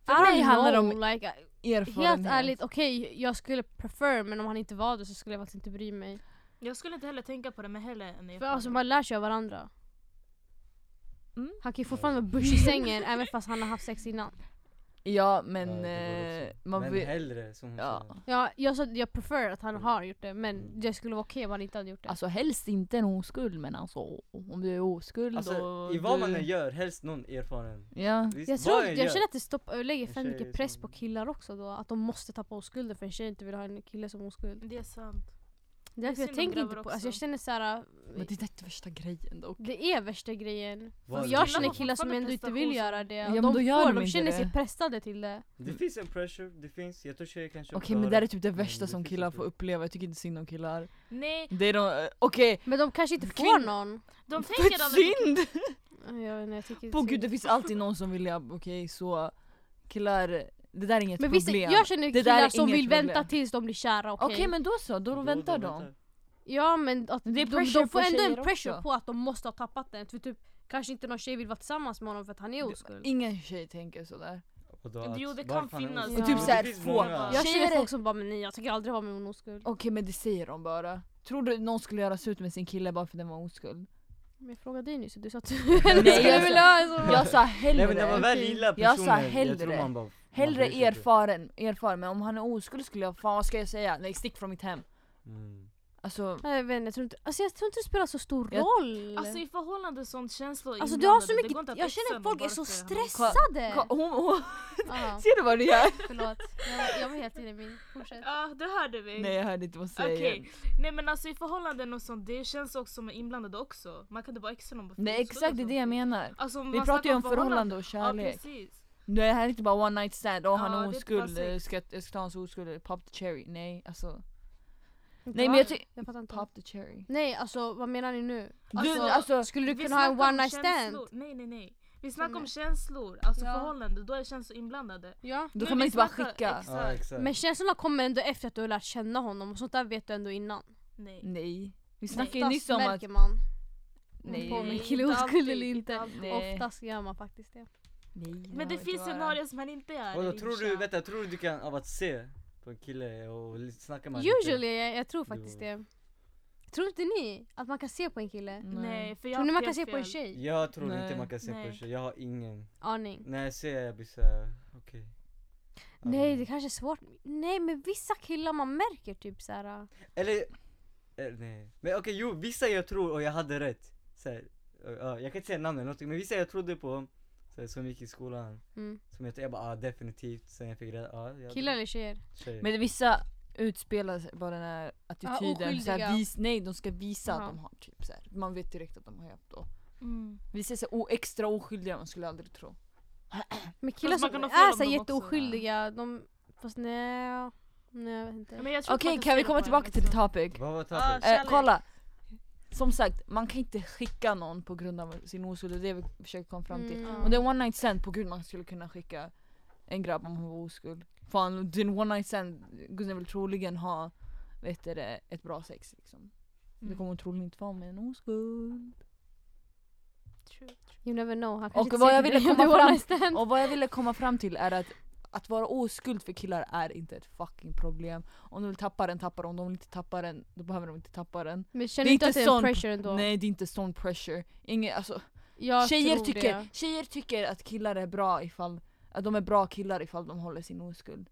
S4: För mig
S2: I don't
S4: handlar det
S2: know,
S4: om
S2: like,
S4: Erfarenhet.
S2: Helt ärligt, okej jag skulle prefer men om han inte var det så skulle jag faktiskt inte bry mig.
S3: Jag skulle inte heller tänka på det men heller än
S2: För alltså man lär sig av varandra.
S4: Mm.
S2: Han kan ju fortfarande vara bush i sängen även fast han har haft sex innan.
S4: Ja
S1: Ja, det
S4: men
S1: går
S4: eh,
S1: också.
S4: man
S1: men
S4: vill...
S1: hellre som hon
S4: Ja.
S1: sa.
S2: Ja, jag sa att jag prefer att han
S1: Mm.
S2: har gjort det men det skulle vara okej om han inte hade gjort det.
S4: Alltså helst inte en oskuld men alltså om du är oskuld
S1: Alltså
S4: och
S1: i vad
S4: du...
S1: man än gör, helst någon erfaren.
S4: Ja.
S1: Visst,
S2: jag
S1: vad
S2: tror,
S1: än
S2: jag
S1: gör.
S2: känner att det stoppar, och lägger
S1: En
S2: för
S1: tjej
S2: mycket press
S1: som-
S2: på killar också då att de måste tappa oskulden för en tjej inte vill ha en kille som oskuld.
S3: Det är sant.
S2: Det är därför jag
S3: synd om
S2: tänker
S3: grabbar
S2: inte på,
S3: också.
S2: alltså jag känner såhär,
S4: Men det är inte värsta grejen
S1: Typ
S4: dock.
S2: det är värsta grejen.
S1: Vad
S2: Och
S1: är
S2: jag
S1: det?
S2: känner
S3: får
S2: killar som
S3: fortfarande
S2: ändå inte vill
S3: prestation.
S2: göra det.
S4: Ja,
S2: Och
S4: men
S2: de
S4: då gör
S2: får,
S4: de
S2: de
S4: inte
S2: känner
S4: det.
S2: sig pressade till det.
S1: Det finns en pressure, det finns. Jag tror tjejer kanske
S4: Okej men det här är
S1: är...
S4: typ det
S1: men
S4: värsta
S1: det
S4: som
S1: finns
S4: killar
S1: inte.
S4: får uppleva, jag tycker inte synd om killar.
S3: Nej,
S4: Det är de, okej,
S2: Men de kanske inte
S4: Kvinnor-
S2: får någon. Eh,
S3: de tänker
S4: Fett
S3: aldrig på
S4: synd!
S2: Jag, nej, jag tycker
S4: Åh
S2: synd.
S4: gud det finns alltid någon som vill, ja, okej så killar, det där är inget
S2: men visst,
S4: problem.
S2: jag känner
S4: Det där är
S2: killar som
S4: inget
S2: vill vänta
S4: problem.
S2: tills de blir kära, okej?
S4: Okej men då så, då, väntar de.
S2: Ja men att
S4: Men det
S2: de,
S4: är pressure
S2: de får
S4: på
S2: ändå en
S4: tjejer
S2: pressure
S4: också.
S2: på att de måste ha tappat den. För typ, kanske inte någon tjej vill vara tillsammans med honom för att han är oskuld.
S4: Ingen tjej tänker sådär.
S1: Och då
S3: Jo,
S1: att-
S3: det kan
S1: varför han är
S3: finnas.
S1: oskuld?
S2: Och typ
S1: Det
S4: så här,
S1: finns
S4: få-
S1: många.
S3: Ja.
S2: Jag
S4: Tjejer
S2: känner
S4: är-
S2: folk som bara men nej jag tänker aldrig vara med någon oskuld.
S4: Okej men det säger de bara. Tror du någon skulle göra slut med sin kille bara för att den var oskuld?
S2: Men jag frågade dig nyss och du sa att du
S4: jag
S2: skulle
S4: sa-
S2: vilja ha en sån.
S4: Jag sa
S1: Nej men när man
S4: hellre,
S1: väl gillar
S4: Jag sa
S1: personen, jag, tror
S4: hellre.
S1: man bara... man
S4: hellre
S1: bryr sig inte.
S4: erfaren, erfaren. Men om han är oskuld skulle jag, fan vad ska jag säga? Nej stick från mitt hem.
S1: Mm.
S4: Alltså,
S2: Nej, Jag, vet inte, jag, tror inte, alltså jag tror inte det spelar så stor
S4: Jag-
S2: roll.
S3: det. Alltså i förhållande sånt känslor
S2: Alltså, du har
S3: inblandade,
S2: så
S3: det
S2: mycket,
S3: går inte att
S2: jag
S3: fixa
S2: känner att
S3: med
S2: folk är
S3: bara
S2: så
S3: för-
S2: stressade.
S4: ka- hon, hon,
S2: Ja,
S4: ser du vad du gör?
S2: förlåt, jag var, jag var helt inne i min. Fortsätt.
S3: Ja, det hörde vi.
S4: Nej jag hörde inte vad hon säger.
S3: Okej, nej men alltså i förhållanden och sånt, det känns också som är inblandade också. Man kan inte bara exa någon bara för
S4: Nej
S3: oskuld och
S4: exakt det är det jag
S3: sånt.
S4: menar.
S3: Alltså,
S4: Vi
S3: man
S4: pratar ju
S3: snackar
S4: om förhållande och
S3: Ja
S4: kärlek.
S3: precis.
S4: Nej det här är inte bara one night stand, åh han
S3: Ja,
S4: är
S3: det är
S4: oskuld,
S3: bara
S4: jag
S3: sex.
S4: ska, jag ska ta hans oskuld, pop the cherry. Nej alltså.
S2: Inte
S4: Nej men
S2: alls.
S4: jag tycker...
S2: jag fattar inte.
S4: Pop the cherry.
S2: Nej alltså vad menar ni nu?
S4: Du,
S3: Alltså,
S4: alltså,
S2: Skulle du
S3: Vi
S2: kunna ha en
S3: snackar om
S2: one night
S3: känslor.
S2: stand?
S3: Nej nej nej. Vi snackar om
S2: Nej.
S3: känslor, alltså
S2: Ja.
S3: förhållande, då är känslor inblandade.
S2: Ja.
S4: då
S3: Men
S4: kan man
S3: vi
S4: inte bara
S3: snackar-
S4: skicka.
S3: exakt.
S1: Ja exakt.
S2: Men känslorna kommer ändå efter att du har lärt känna honom och sånt där vet du ändå innan.
S3: Nej.
S4: Nej. Vi snackade ju
S2: Oftast
S4: nyss om att
S2: märker man. Nej.
S4: Nej.
S2: på om en
S3: Nej,
S2: kille är
S3: inte
S2: oskuld
S3: alltid,
S2: eller
S3: inte
S2: inte.
S3: alltid.
S4: Nej.
S2: Oftast gör man faktiskt det.
S4: Nej,
S3: Men det
S4: behöver
S3: finns
S4: inte vara.
S3: scenarier som man inte gör.
S1: Vadå tror du,
S3: Isha.
S1: vänta, tror du du kan av att se på en kille och li- snacka med
S2: Usually, jag, jag tror
S1: Det var-
S2: faktiskt det. Tror inte ni att man kan se på en kille?
S3: Nej, för jag
S2: Tror ni man
S3: har haft
S2: kan se
S3: helt
S2: på en
S3: fel.
S2: tjej?
S1: lite? Jag tror
S5: Nej.
S1: inte man kan se på en
S3: Nej.
S1: tjej, jag har ingen.
S2: Aning.
S1: När jag ser jag blir såhär, okej. Ja,
S2: Nej
S1: men-
S2: det kanske är svårt. Nej men vissa killar man märker typ såhär.
S1: Eller, eh, nej. Men okej jo, vissa jag tror och jag hade rätt. Så här, eh, ja, jag kan inte säga namn eller någonting men vissa jag trodde på, så här, som gick i skolan.
S2: Mm.
S1: Som jag, jag bara ah, definitivt, sen jag fick reda ah, jag
S2: Killar eller tjejer?
S1: tjejer.
S4: Men vissa utspelar sig bara den här attityden. så
S2: oskyldiga.
S4: här, vis, nej, de ska visa
S2: Ja.
S4: att de har typ så här. Man vet direkt att de har hjälpt då.
S3: Mm.
S4: Vissa är så o- extra oskyldiga, man skulle aldrig tro.
S2: Men killar
S3: man
S2: som
S3: kan ha fel
S2: är
S3: om
S2: såhär
S3: dem också.
S2: jätteoskyldiga, de... Fast nej... Nej jag vet inte.
S3: Men jag tror att
S4: Okej,
S3: man
S4: kan
S3: se
S4: vi
S3: på
S4: komma
S3: en
S4: tillbaka till the
S3: också.
S4: topic?
S1: Vad var
S3: Ah,
S1: tappet?
S4: Eh,
S3: Kärlek.
S4: kolla! Som sagt, man kan inte skicka någon på grund av sin oskuld, det är det vi försöker komma fram till.
S2: Mm.
S4: Om det är one night stand, på gud man skulle kunna skicka en grabb om han var oskuld. Fan, din one night stand, Gustav vill troligen ha vet du, det, ett bra sex liksom. Det
S3: Mm.
S4: kommer hon troligen inte vara med en oskuld.
S3: True.
S2: You never know, han
S4: Och
S2: kanske inte
S4: vad
S2: säger
S4: jag
S2: till
S4: ville
S2: dig om
S4: komma
S2: det var
S4: fram-
S2: en stand.
S4: Och vad jag ville komma fram till är att att vara oskuld för killar är inte ett fucking problem. Om de vill tappa den, tappar de. Om de vill inte tappa den, då behöver de inte tappa den.
S2: Men känner
S4: Det är
S2: inte att
S4: inte
S2: det är en
S4: sån-
S2: pressure ändå?
S4: Nej det är inte sån pressure. Ingen, alltså,
S2: Jag
S4: Tjejer
S2: tror
S4: tycker,
S2: det.
S4: tjejer tycker att killar är bra ifall att de är bra killar ifall de håller sin oskuld.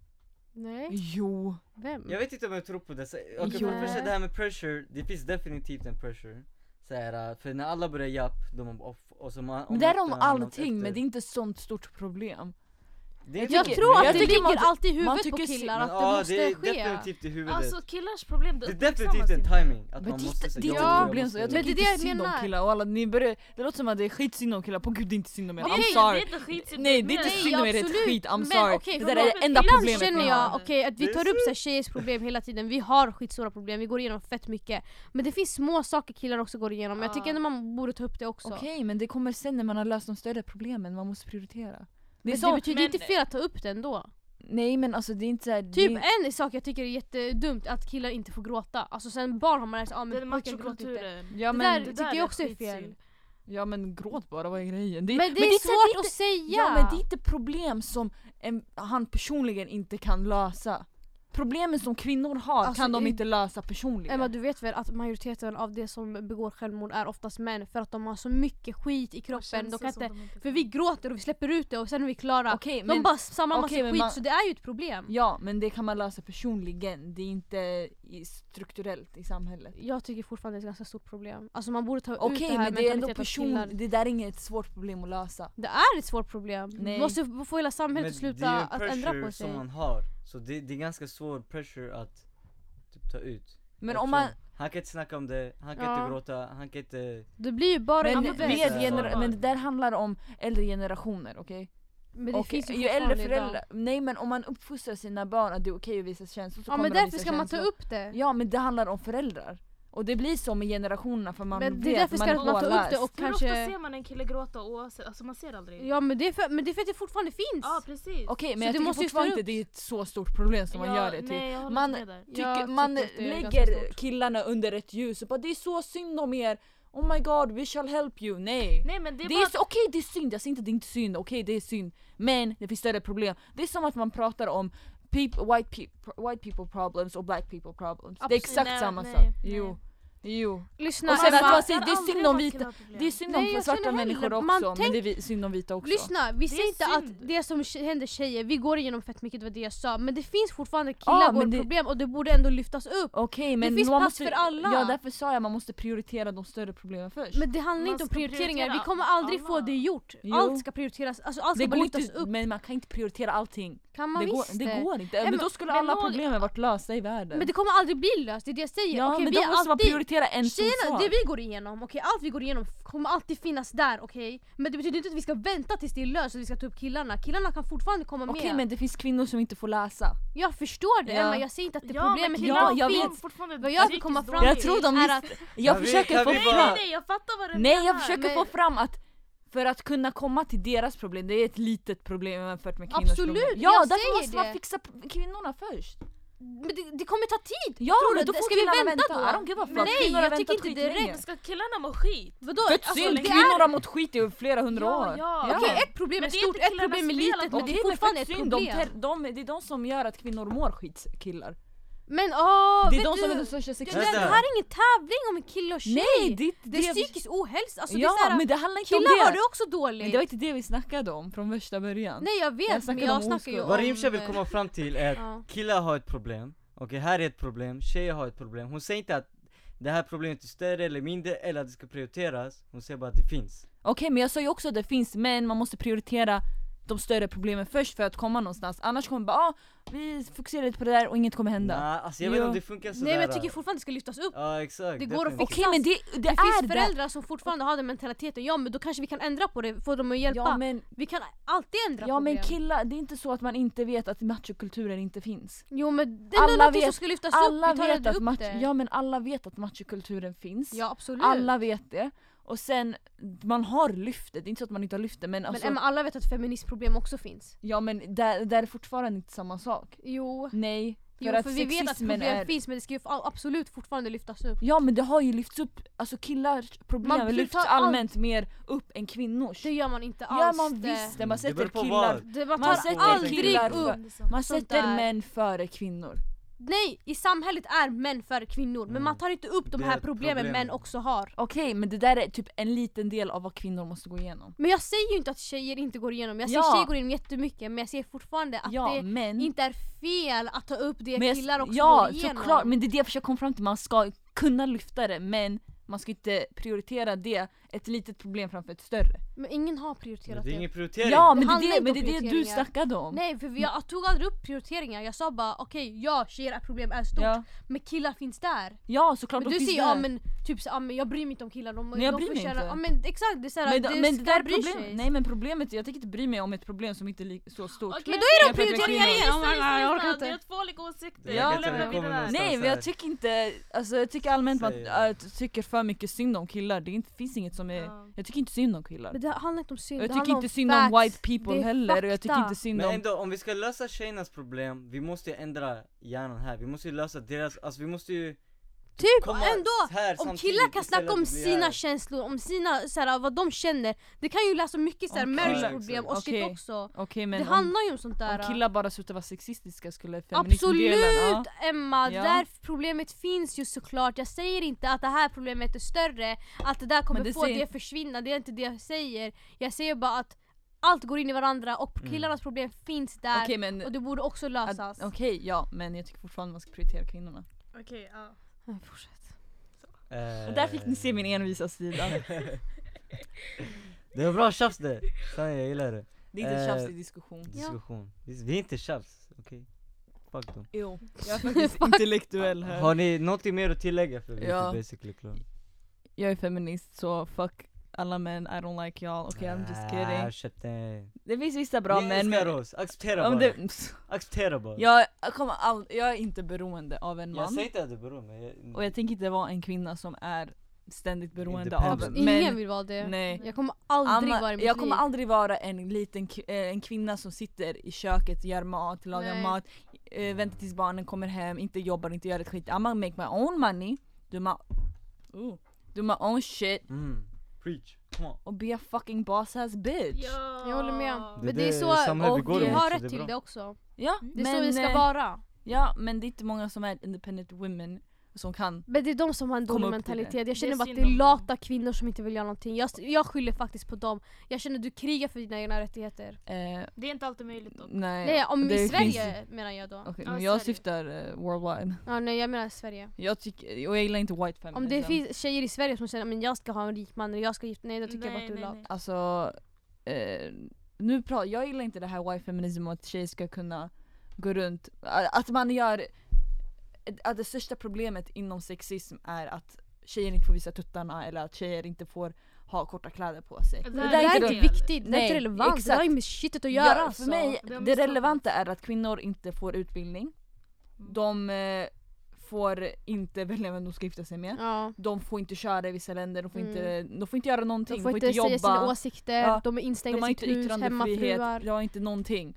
S2: Mm. Nej,
S4: Jo.
S2: vem?
S1: Jag vet inte om jag tror på det. Så- Okej för det
S4: Jo.
S1: första det här med pressure, det finns definitivt en pressure. Så här, eh, för när alla börjar japp, de off, och så man,
S4: Men det är om allting men det är inte ett sånt stort problem.
S1: det
S2: Jag
S4: tycker-
S2: tror att
S4: jag
S2: det
S4: tycker
S2: ligger
S4: man-
S2: alltid i
S4: man
S2: huvudet på
S4: tycker si-
S2: killar
S1: men,
S2: att det
S1: ja,
S2: måste
S1: det är
S2: ske.
S1: definitivt i huvudet.
S3: Alltså killars problem, det
S1: det är definitivt en timing att
S4: Men
S1: man
S4: det, är
S1: måste
S4: inte-
S1: säga
S4: det är inte
S1: "Jag
S4: ett
S1: måste
S4: problem så jag
S1: göra
S2: Men
S4: tycker
S1: det."
S2: det är det
S4: inte
S2: jag
S4: synd om
S2: menar.
S4: killar och alla ni börjar, det låter som att det är skitsynd om killar, på gud det är inte synd om er, I'm
S3: Nej,
S4: sorry.
S3: det är inte skit.
S4: Nej det är inte
S2: Nej,
S4: synd om er, det är ett
S2: absolut.
S4: skit, I'm
S2: Men
S4: sorry.
S2: okej,
S4: det
S2: för
S4: där är det
S3: ibland-
S4: enda
S3: ibland
S4: problemet
S2: känner
S4: ni
S2: jag,
S4: har.
S2: okej att vi
S1: Det är
S2: tar upp så här, tjejers problem hela tiden, vi har skitstora problem, vi går igenom fett mycket. Men det finns små saker killar också går igenom, jag
S3: Ja.
S2: tycker ändå man borde ta upp det också.
S4: Okej men det kommer sen när man har löst de större problemen, man måste prioritera. Det är
S2: Men
S4: så,
S2: det betyder
S3: men-
S2: inte fel att ta upp det ändå.
S4: nej men alltså det är inte såhär...
S2: Typ en sak jag tycker är jättedumt, att killar inte får gråta. Alltså sen barn har man lärt sig, ah,
S3: Det är
S2: men pojkar gråter inte.
S3: machokulturen.
S4: ja,
S2: Det
S4: men,
S2: där tycker jag också är fel.
S3: skitsynd.
S4: Ja men gråt bara, vad är grejen? Det,
S2: Men det
S4: är
S2: är
S4: så här, det är
S2: svårt att
S4: inte-
S2: säga!
S4: Ja men det är inte problem som en, han personligen inte kan lösa. Problemen som kvinnor har
S2: Alltså,
S4: kan de
S2: i-
S4: inte lösa personligen.
S2: Emma du vet väl att majoriteten av de som begår självmord är oftast män för att de har så mycket skit i kroppen. De kan inte, för vi gråter och vi släpper ut det och sen är vi klara.
S4: Okej,
S2: de
S4: men,
S2: bara samlar massa
S4: okej, men
S2: skit
S4: man-
S2: så det är ju ett problem.
S4: ja men det kan man lösa personligen, det är inte i, strukturellt i samhället.
S2: Jag tycker fortfarande det är ett ganska stort problem. Alltså man borde ta ut det
S4: Okej
S2: här
S4: men det är ändå
S2: mentaliteten att
S4: person,
S2: killar-
S4: det där är inget svårt problem att lösa.
S2: Det är ett svårt problem.
S4: Nej.
S2: Vi måste få hela
S1: Men
S2: samhället att
S1: det är
S2: sluta
S1: ju en
S2: att ändra
S1: pressure
S2: på
S1: som
S2: sig.
S1: man har. Så det, det är ganska svår pressure att typ, ta ut.
S4: Men
S1: Eftersom
S4: om man,
S1: Han kan inte snacka om det, han kan
S2: Ja.
S1: inte gråta, han kan inte...
S2: Det blir ju bara
S4: men,
S2: en
S4: med
S1: det är så.
S4: gener- men det där handlar om äldre generationer okej?
S2: Men det
S4: Och
S2: finns ju,
S4: ju äldre
S2: fortfarande idag.
S4: föräldrar, nej men om man uppfostrar sina barn att det är okej att visa känslor så
S2: Ja
S4: kommer
S2: men
S4: de
S2: därför
S4: visa
S2: ska man ta
S4: känslor.
S2: upp det.
S4: Ja men det handlar om föräldrar. Och det blir så med generationerna för man
S2: Men
S4: vet,
S2: det är därför
S4: man
S2: ska man ta upp det
S4: påläst.
S2: och
S3: Hur ofta
S2: kanske...
S3: ser man en kille gråta oavsett? Alltså man ser aldrig.
S2: Ja men det är för, men det är för att det fortfarande finns.
S3: Ja, precis.
S4: Okej
S2: Så
S4: men jag
S2: det
S4: tycker
S2: måste ju
S4: fortfarande
S2: stå
S4: inte
S2: upp.
S4: det är ett så stort problem som man
S3: Ja,
S4: gör det till.
S3: Nej, jag håller
S4: Man-
S3: inte med där.
S2: Jag
S4: Tycker,
S2: tycker
S4: man
S2: att det är ganska
S4: lägger
S2: stort.
S4: killarna under ett ljus och bara det är så synd om er, oh my god we shall help you, nej.
S3: Nej men det
S4: Det
S3: är
S4: är
S3: bara
S4: så- Okej det är synd, jag säger inte att det är inte är synd, okej det är synd. Men det finns större problem. Det är som att man pratar om peop- white, peop- white people problems och black people problems. det är
S3: Absolut,
S4: exakt
S3: nej,
S4: samma
S3: nej,
S4: sak.
S3: nej.
S4: Jo. Jo.
S2: Lyssna,
S4: Och sen
S2: Emma.
S4: att man
S3: man
S4: säger det är
S3: aldrig
S4: synd om
S3: varit
S4: vita,
S3: killarproblem.
S4: det är synd om
S2: Nej, jag
S4: svarta
S2: känner
S4: människor
S2: heller-
S4: också
S2: man
S4: men
S2: tänk-
S4: det är vi- synd om vita också.
S2: Lyssna, vi
S3: Det är
S2: säger inte
S3: synd.
S2: att det som tje- händer tjejer, vi går igenom fett mycket, det var det jag sa. Men det finns fortfarande killar
S4: Ja,
S2: går
S4: men det-
S2: problem och det borde ändå lyftas upp.
S4: Okej men
S2: finns
S4: man
S2: plats
S4: måste,
S2: för alla.
S4: Ja därför sa jag man måste prioritera de större problemen först.
S2: Men det handlar
S3: Man
S2: inte om
S3: ska
S2: prioriteringar,
S3: prioritera
S2: vi kommer aldrig få
S3: alla.
S2: det gjort.
S4: Jo.
S2: Allt ska prioriteras, alltså allt
S4: det
S2: ska bara
S4: går
S2: lyftas
S4: inte,
S2: upp.
S4: men man kan inte prioritera allting.
S2: Kan man
S4: det, går,
S2: visst
S4: det går inte.
S2: Nej,
S4: men,
S2: men-
S4: då skulle
S3: men
S4: alla
S3: någ-
S4: problemen varit lösta i världen.
S2: Men det kommer aldrig bli löst, det är det jag säger.
S4: ja
S2: Okej,
S4: men
S2: vi
S4: då
S2: är
S4: måste man
S2: alltid...
S4: prioritera en stor
S2: Tjejerna,
S4: sak.
S2: det vi går igenom, okej allt vi går igenom f- kommer alltid finnas där okej? Men det betyder inte att vi ska vänta tills det är löst och vi ska ta upp killarna. Killarna kan fortfarande komma
S4: Okej
S2: med.
S4: men det finns kvinnor som inte får läsa.
S2: Jag förstår det
S4: Ja.
S2: Emma, jag säger inte att det
S3: Ja men
S2: problemet
S3: killar
S4: Ja,
S3: har
S4: jag
S3: form-
S4: vet.
S3: fortfarande
S2: Vad jag vill
S3: psykiskt
S2: komma fram
S3: dåligt.
S4: Jag tror de
S2: är att
S4: Jag
S1: Kan vi-
S4: försöker
S1: kan
S4: få
S1: vi
S4: fram...
S1: bara-
S3: Nej nej jag fattar vad du
S4: Nej
S3: menar.
S4: jag försöker
S2: Men-
S4: få fram att för att kunna komma till deras problem, det är ett litet problem jämfört med kvinnors
S2: Absolut,
S4: problem.
S2: jag
S4: Ja, därför
S2: säger
S4: måste man
S2: det.
S4: fixa p- kvinnorna först.
S2: Men det, det kommer ta tid!
S4: Ja
S2: Tror
S4: men
S2: du-
S4: då får
S2: ska vi
S4: killarna
S2: vänta då?
S4: I don't give a fuck.
S2: Men nej,
S4: Kvinnor har
S2: jag tycker
S4: väntat
S2: inte direkt.
S4: skitlänge.
S3: Men ska killarna må skit?
S2: Vadå?
S4: Fett
S2: Alltså,
S4: synd,
S2: det
S4: kvinnor
S2: är,
S4: har mått skit i flera hundra
S3: Ja,
S4: år.
S3: ja.
S4: Ja.
S2: okej, ett problem är
S3: Men det är
S2: stort,
S3: inte
S2: ett problem är
S3: killarnas fel
S2: litet
S3: att
S2: men
S4: Okej,
S2: det
S4: men
S2: är fortfarande ett
S4: fett synd, de ter-
S2: problem.
S4: de, det är de som gör att kvinnor mår skit, killar.
S2: Men åh,
S4: det
S2: vet
S4: är de som är
S2: du?
S4: de största
S2: Det,
S4: sexuella...
S2: det, det här är ingen tävling om en kille och tjej!
S4: Nej, det,
S2: det är psykisk ohälsa, alltså
S4: ja,
S2: det är såhär,
S4: men det handlar inte om
S2: killar har
S4: det.
S2: det också
S4: Men
S2: dåligt!
S4: det var inte det vi snackade om från värsta början.
S2: Nej jag vet,
S4: Jag
S2: men
S4: snackade om
S2: jag snackar
S4: oskuld.
S2: ju om...
S4: Vad
S1: Vad Rimsha vill
S2: eh,
S1: komma fram till är att
S2: ja.
S1: killar har ett problem, okej här är ett problem, tjejer har ett problem. Hon säger inte att det här problemet är större eller mindre eller att det ska prioriteras, hon säger bara att det finns.
S4: Okej men jag sa ju också att det finns men man måste prioritera de större problemen först för att komma någonstans. Annars kommer bara ah, vi fokuserar lite på det där och inget kommer
S1: Nej,
S4: hända.
S1: alltså jag vet inte om
S4: Jo.
S1: det funkar sådär.
S2: Nej men jag tycker fortfarande det ska lyftas upp.
S1: Ja exakt.
S2: Det går att
S1: definitivt.
S4: Okej men det, det,
S2: Det
S4: är
S2: finns föräldrar som fortfarande har den mentaliteten, ja men då kanske vi kan ändra på det, få dem att
S4: det.
S2: hjälpa.
S4: Ja men,
S2: Vi kan alltid ändra
S4: ja,
S2: problem.
S4: men killar, det är inte så att man inte vet att machokulturen inte finns.
S2: Jo men det är
S4: Alla
S2: någonting som
S4: vet-
S2: ska lyftas
S4: Alla
S2: upp, vi tar
S4: vet,
S2: aldrig
S4: att
S2: upp
S4: macho,
S2: det.
S4: ja, men alla vet att machokulturen finns.
S2: Ja, absolut.
S4: alla vet det. Och sen, man har lyft det, det är inte så att man inte har lyft det men,
S2: men
S4: alltså,
S2: Emma, alla vet att feministproblem också finns.
S4: Ja men där, där är fortfarande inte samma sak.
S2: Jo,
S4: Nej, för
S2: jo
S4: att
S2: för vi vet att
S4: sexismen
S2: problem
S4: är...
S2: finns men det ska ju fa- absolut fortfarande lyftas upp.
S4: Ja men det har ju lyfts upp, alltså killars
S2: Man
S4: problem
S2: tar
S4: lyfts
S2: allt-
S4: allmänt mer upp än kvinnors.
S2: Det gör man inte alls.
S4: gör man visst det, man
S1: Det beror
S4: sätter
S1: på
S4: killar...
S1: vad.
S2: Det, man tar
S4: Man sätter
S2: aldrig
S4: killar
S2: upp.
S4: för- Man
S2: Sånt
S4: sätter
S2: där.
S4: män före kvinnor.
S2: Nej, i samhället är män före kvinnor men
S1: Mm.
S2: man tar inte upp de
S1: Det är
S2: här
S1: ett
S2: problemen
S1: problem.
S2: män också har.
S4: Okej men det där är typ en liten del av vad kvinnor måste gå igenom.
S2: Men jag säger ju inte att tjejer inte går igenom, jag säger
S4: Ja.
S2: tjejer går igenom jättemycket men jag säger fortfarande att
S4: ja
S2: det
S4: men...
S2: inte är fel att ta upp det
S4: men jag-
S2: killar också
S4: ja
S2: går igenom.
S4: såklart, men det är det jag försöker komma fram till, man ska kunna lyfta det men man ska inte prioritera det, ett litet problem framför ett större.
S2: Men ingen har
S1: Men
S2: prioriterat
S1: det är
S2: det.
S1: ingen prioritering.
S4: Ja men det,
S2: handlar
S4: är det,
S2: inte
S4: men
S2: om
S4: det är det du
S2: prioriteringar.
S4: snackade om.
S2: Nej för jag tog aldrig upp prioriteringar, jag sa bara okej ja tjejer är problem är stort
S4: Ja,
S2: men killar finns där.
S4: ja såklart
S2: Men
S4: de
S2: du
S4: finns
S2: säger ja
S4: där.
S2: men typ så, ja, men jag bryr mig inte om killar, de,
S4: Nej, jag
S2: de
S4: bryr
S2: får
S4: mig
S2: tjäna-
S4: inte.
S2: Ja, men exakt, det är såhär,
S4: Men,
S2: det,
S4: men
S2: ska
S4: det där
S2: bry
S4: problem,
S2: sig.
S4: nej men problemet, jag tänker inte bry mig om ett problem som inte är li- så stort.
S3: Okej,
S2: Men då är det
S4: Jag pratar
S2: prioriteringar
S4: kvinnor.
S2: igen! Oh my
S3: lyssna,
S2: God, jag orkar
S3: lyssna,
S2: inte.
S3: Det är två olika åsikter.
S4: Ja,
S3: Vi lämnar
S4: men-
S3: vidare.
S1: kommer
S4: Nej men jag tycker inte, alltså jag tycker allmänt att,
S1: Säg det.
S4: att tycker för mycket synd om killar, det är inte, finns inget som är,
S3: Ja.
S4: jag tycker inte synd om killar.
S2: Men det handlar inte om synd,
S4: Och jag
S2: det
S4: tycker
S2: handlar
S4: inte synd om
S2: facts.
S4: white
S2: Det
S4: people
S2: är
S4: heller och jag tycker
S2: fakta.
S4: inte synd
S1: Men
S4: om...
S1: ändå, om vi ska lösa tjejernas problem, vi måste ju ändra hjärnan här, vi måste ju lösa deras, alltså vi måste ju
S2: Typ
S1: komma
S2: ändå!
S1: här
S2: Om
S1: samtidigt
S2: killar kan
S1: istället
S2: snacka
S1: för
S2: om
S1: att bli
S2: sina
S1: här.
S2: känslor, om sina, såhär, vad de känner, det kan ju läsa mycket såhär,
S4: Okej.
S2: marriage-problem
S1: Ja,
S2: och shit
S4: Okej.
S2: också.
S4: Okej men
S2: det
S4: om,
S2: handlar ju om sånt där.
S4: om killar bara slutade vara sexistiska skulle feminismdelen...
S2: Absolut
S4: Ja.
S2: Emma!
S4: Ja.
S2: Där problemet finns ju såklart. Jag säger inte att det här problemet är större, att det där kommer
S4: Men det
S2: få
S4: säger-
S2: det försvinna. Det är inte det jag säger. Jag säger bara att allt går in i varandra och
S1: Mm.
S2: killarnas problem finns där.
S4: Okej men...
S2: Och det borde också
S4: att-
S2: lösas.
S4: Okej ja men jag tycker fortfarande man ska prioritera kvinnorna.
S3: Okej, ja.
S2: Men fortsätt.
S1: Eh,
S4: Och där fick ni se min envisa sida.
S1: Eh, Det var bra tjafs det! Sanna jag gillar det.
S4: Det är inte
S1: Eh,
S4: tjafs, det är diskussion.
S1: Diskussion. Vi, vi är inte tjafs, okej? Fuck dem.
S4: Jo, jag är faktiskt intellektuell
S1: Har ni något mer att tillägga? För vi är
S4: Ja.
S1: inte basically klara.
S4: Jag är feminist så fuck alla män, I don't like y'all. Okej okay, I'm just
S1: Ah,
S4: kidding.
S1: shit, nej.
S4: Det finns vissa bra
S1: ni
S4: män
S1: älskar
S4: men...
S1: oss, acceptera bara.
S4: Om det, pss,
S1: Acceptera bara.
S4: jag, jag kommer all, jag är inte beroende av en
S1: jag
S4: man.
S1: säger inte att det beror men jag,
S4: Och jag tänker inte vara en kvinna som är ständigt beroende av
S1: Independent.
S4: en
S2: Ingen
S4: Alltså, men
S2: vill vara det.
S4: Nej.
S2: Jag kommer aldrig
S4: Anna-
S2: vara i mitt
S4: jag kommer
S2: liv.
S4: aldrig vara en liten ki- eh, en kvinna som sitter i köket, gör mat, lagar
S2: Nej.
S4: mat, eh, väntar tills barnen kommer hem, inte jobbar, inte gör ett skit. I'm gonna make my own money, do my, ooh, do my own shit
S1: Mm. Preach, come on.
S4: och be a fucking boss ass bitch.
S3: Ja.
S2: Jag håller med.
S1: Det
S2: Men
S1: är
S2: det är
S1: det
S2: så,
S1: samhället
S4: vi
S2: och
S4: går
S2: vi
S4: emot,
S2: har
S1: så det
S2: rätt
S1: är
S2: till
S1: bra.
S2: det också.
S4: Ja,
S2: Mm, Det är
S4: men,
S2: så vi ska
S4: eh,
S2: vara.
S4: Ja men det är inte många som är independent women som kan.
S2: Men det är de som har en
S4: Komma
S2: dålig
S4: upp till det.
S2: mentalitet. Jag
S3: Det
S2: känner
S3: är
S2: bara att det
S3: synd
S2: är
S3: om dem.
S2: lata kvinnor som inte vill göra någonting. Jag, jag skyller faktiskt på dem. Jag känner du krigar för dina egna rättigheter.
S4: Eh,
S3: Det är inte alltid möjligt dock.
S4: nej,
S2: Nej, om
S4: det
S2: i
S4: finns-
S2: Sverige menar jag då.
S4: Okej,
S3: Ja,
S4: men jag
S3: Sverige.
S4: syftar eh, worldwide.
S2: Ja, nej jag menar Sverige.
S4: Jag tycker, och jag gillar inte white feminism.
S2: Om det finns tjejer i Sverige som säger men jag ska ha en rik man eller jag ska gifta nej då tycker jag bara att du är lat.
S4: Alltså, eh, nu pra- jag gillar inte det här white feminism och att tjejer ska kunna gå runt, att man gör, att det största problemet inom sexism är att tjejer inte får visa tuttarna eller att tjejer inte får ha korta kläder på sig.
S3: Det
S2: Det,
S3: där
S2: där
S4: är
S2: är
S4: inte
S2: inte viktigt, det är
S4: Nej,
S2: inte relevant, det
S4: exakt.
S2: där har ju med shitet att
S4: Ja,
S2: göra alltså.
S4: För mig,
S3: Det har
S4: det
S3: missat.
S4: relevanta är att kvinnor inte får utbildning. De eh, får inte välja vem de ska gifta sig med.
S2: Ja.
S4: De får inte köra i vissa länder, de får,
S2: Mm.
S4: inte, de får inte göra någonting,
S2: De får inte säga
S4: jobba.
S2: sina åsikter,
S4: Ja.
S2: de är instängda
S4: De har
S2: i sitt
S4: inte
S2: hus,
S4: yttrandefrihet,
S2: hemmafruar.
S4: de har inte någonting.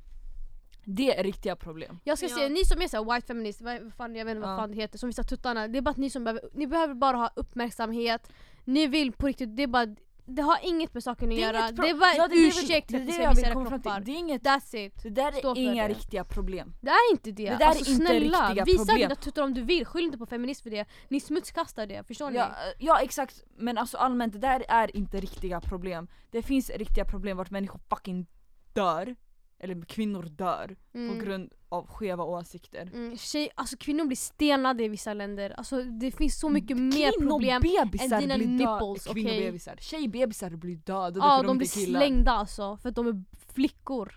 S4: Det är riktiga problem.
S2: Jag ska
S3: Ja.
S2: säga, ni som är såhär white feminist, vad vad fan, jag vet inte vad
S4: Ja.
S2: fan det heter, som visar tuttarna. Det är bara att ni som behöver, ni behöver bara ha uppmärksamhet. Ni vill på riktigt, det är bara, det har inget med saken att
S4: Det är
S2: göra.
S4: inget pro-
S2: Det är bara
S4: Ja,
S2: en
S4: det är det vi-
S2: ursäkt
S4: det är
S2: att ni
S4: det
S2: ska
S4: jag
S2: visa
S4: vill
S2: era
S4: komma fram till.
S2: kroppar.
S4: Det är inget-
S2: That's it.
S4: Det där
S2: Stå
S4: är
S2: för
S4: inga
S2: det.
S4: riktiga problem.
S2: Det är inte det.
S4: Det där är
S2: alltså
S4: inte
S2: snälla,
S4: riktiga
S2: visa
S4: problem.
S2: dina tuttar om du vill. Skyll inte på feminism för det. Ni smutskastar det, förstår
S4: Ja,
S2: ni?
S4: eh, ja exakt, men alltså allmänt det där är inte riktiga problem. Det finns riktiga problem vart människor fucking dör. Eller kvinnor dör
S2: Mm.
S4: på grund av skeva åsikter.
S2: Mm, tjej, alltså kvinnor blir stenade i vissa länder. Alltså det finns så
S4: Mm,
S2: mycket mer problem.
S4: Kvinnobebisar
S2: än dina
S4: blir döda.
S2: nipples, okej?
S4: Kvinnobebisar. Tjejbebisar blir dödade
S2: Ja,
S4: för
S2: de blir
S4: inte är killar.
S2: slängda alltså, för att de är flickor.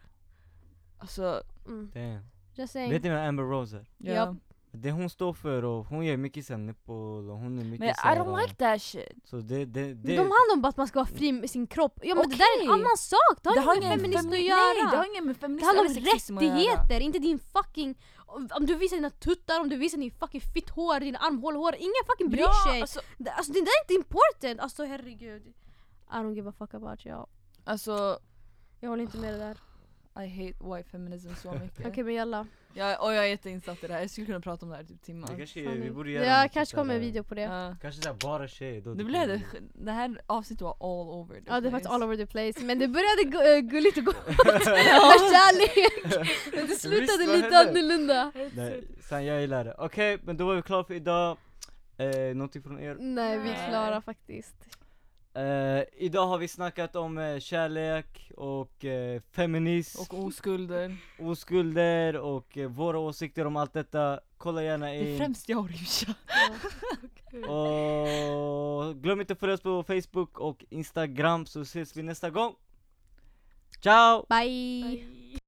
S4: Alltså,
S2: Mm.
S1: Damn.
S2: Just saying.
S1: Vet ni vem Amber Rose är?
S4: ja.
S2: Japp.
S1: Det hon står för och hon gör mycket sen nipple och hon är mycket
S4: Men I
S1: såhär,
S4: don't like that shit.
S1: Så det, det,
S2: De
S1: det
S2: handlar om bara att man ska vara fri med sin kropp. Ja men det där är en
S4: Okej.
S2: annan sak, det har inget med feminist
S4: femi-
S2: att göra.
S4: Nej, det har inget med feminism
S2: det handlar om
S4: eller sexism att göra.
S2: rättigheter, inte din fucking... Om du visar dina tuttar, om du visar din fucking fitt hår, dina armhålor, hår. Ingen fucking bryr sig.
S4: Alltså,
S2: Det- Alltså det där är inte important. Alltså herregud. I don't give a fuck about you.
S4: alltså,
S2: Jag håller inte med det där.
S4: I hate white feminism så mycket.
S2: Okej men jalla.
S4: jag, och jag är jätteinsatt i det här, jag skulle kunna prata om det här i typ
S1: det
S4: timmar.
S1: kanske, vi borde göra
S2: jag
S1: något typ
S2: kanske
S1: sånt
S2: kommer en
S1: där.
S2: video på det. Ja,
S4: Ja.
S1: Kanske såhär bara tjejer då
S4: det,
S1: typ
S4: blev
S1: en-
S4: det, det här avsnittet var all over the
S2: det är faktiskt
S4: place.
S2: all over the place. Men det började gu- eh, gulligt och gott. Av kärlek. Men det slutade
S1: Visst, vad
S2: lite
S1: hände?
S2: annorlunda.
S1: Nej, sen jag gillar det. Okej, men då var vi klara för idag. Eh, någonting från er?
S2: Nej vi är
S3: Nej.
S2: klara faktiskt.
S1: Eh, idag har vi snackat om eh, kärlek och eh, feminism,
S4: Och oskulder.
S1: oskulder och eh, våra åsikter om allt detta. Kolla gärna
S4: Det är
S1: in.
S4: främst jag och Risha.
S1: Och glöm inte att följa oss på Facebook och Instagram så ses vi nästa gång. Ciao!
S2: Bye.
S3: Bye.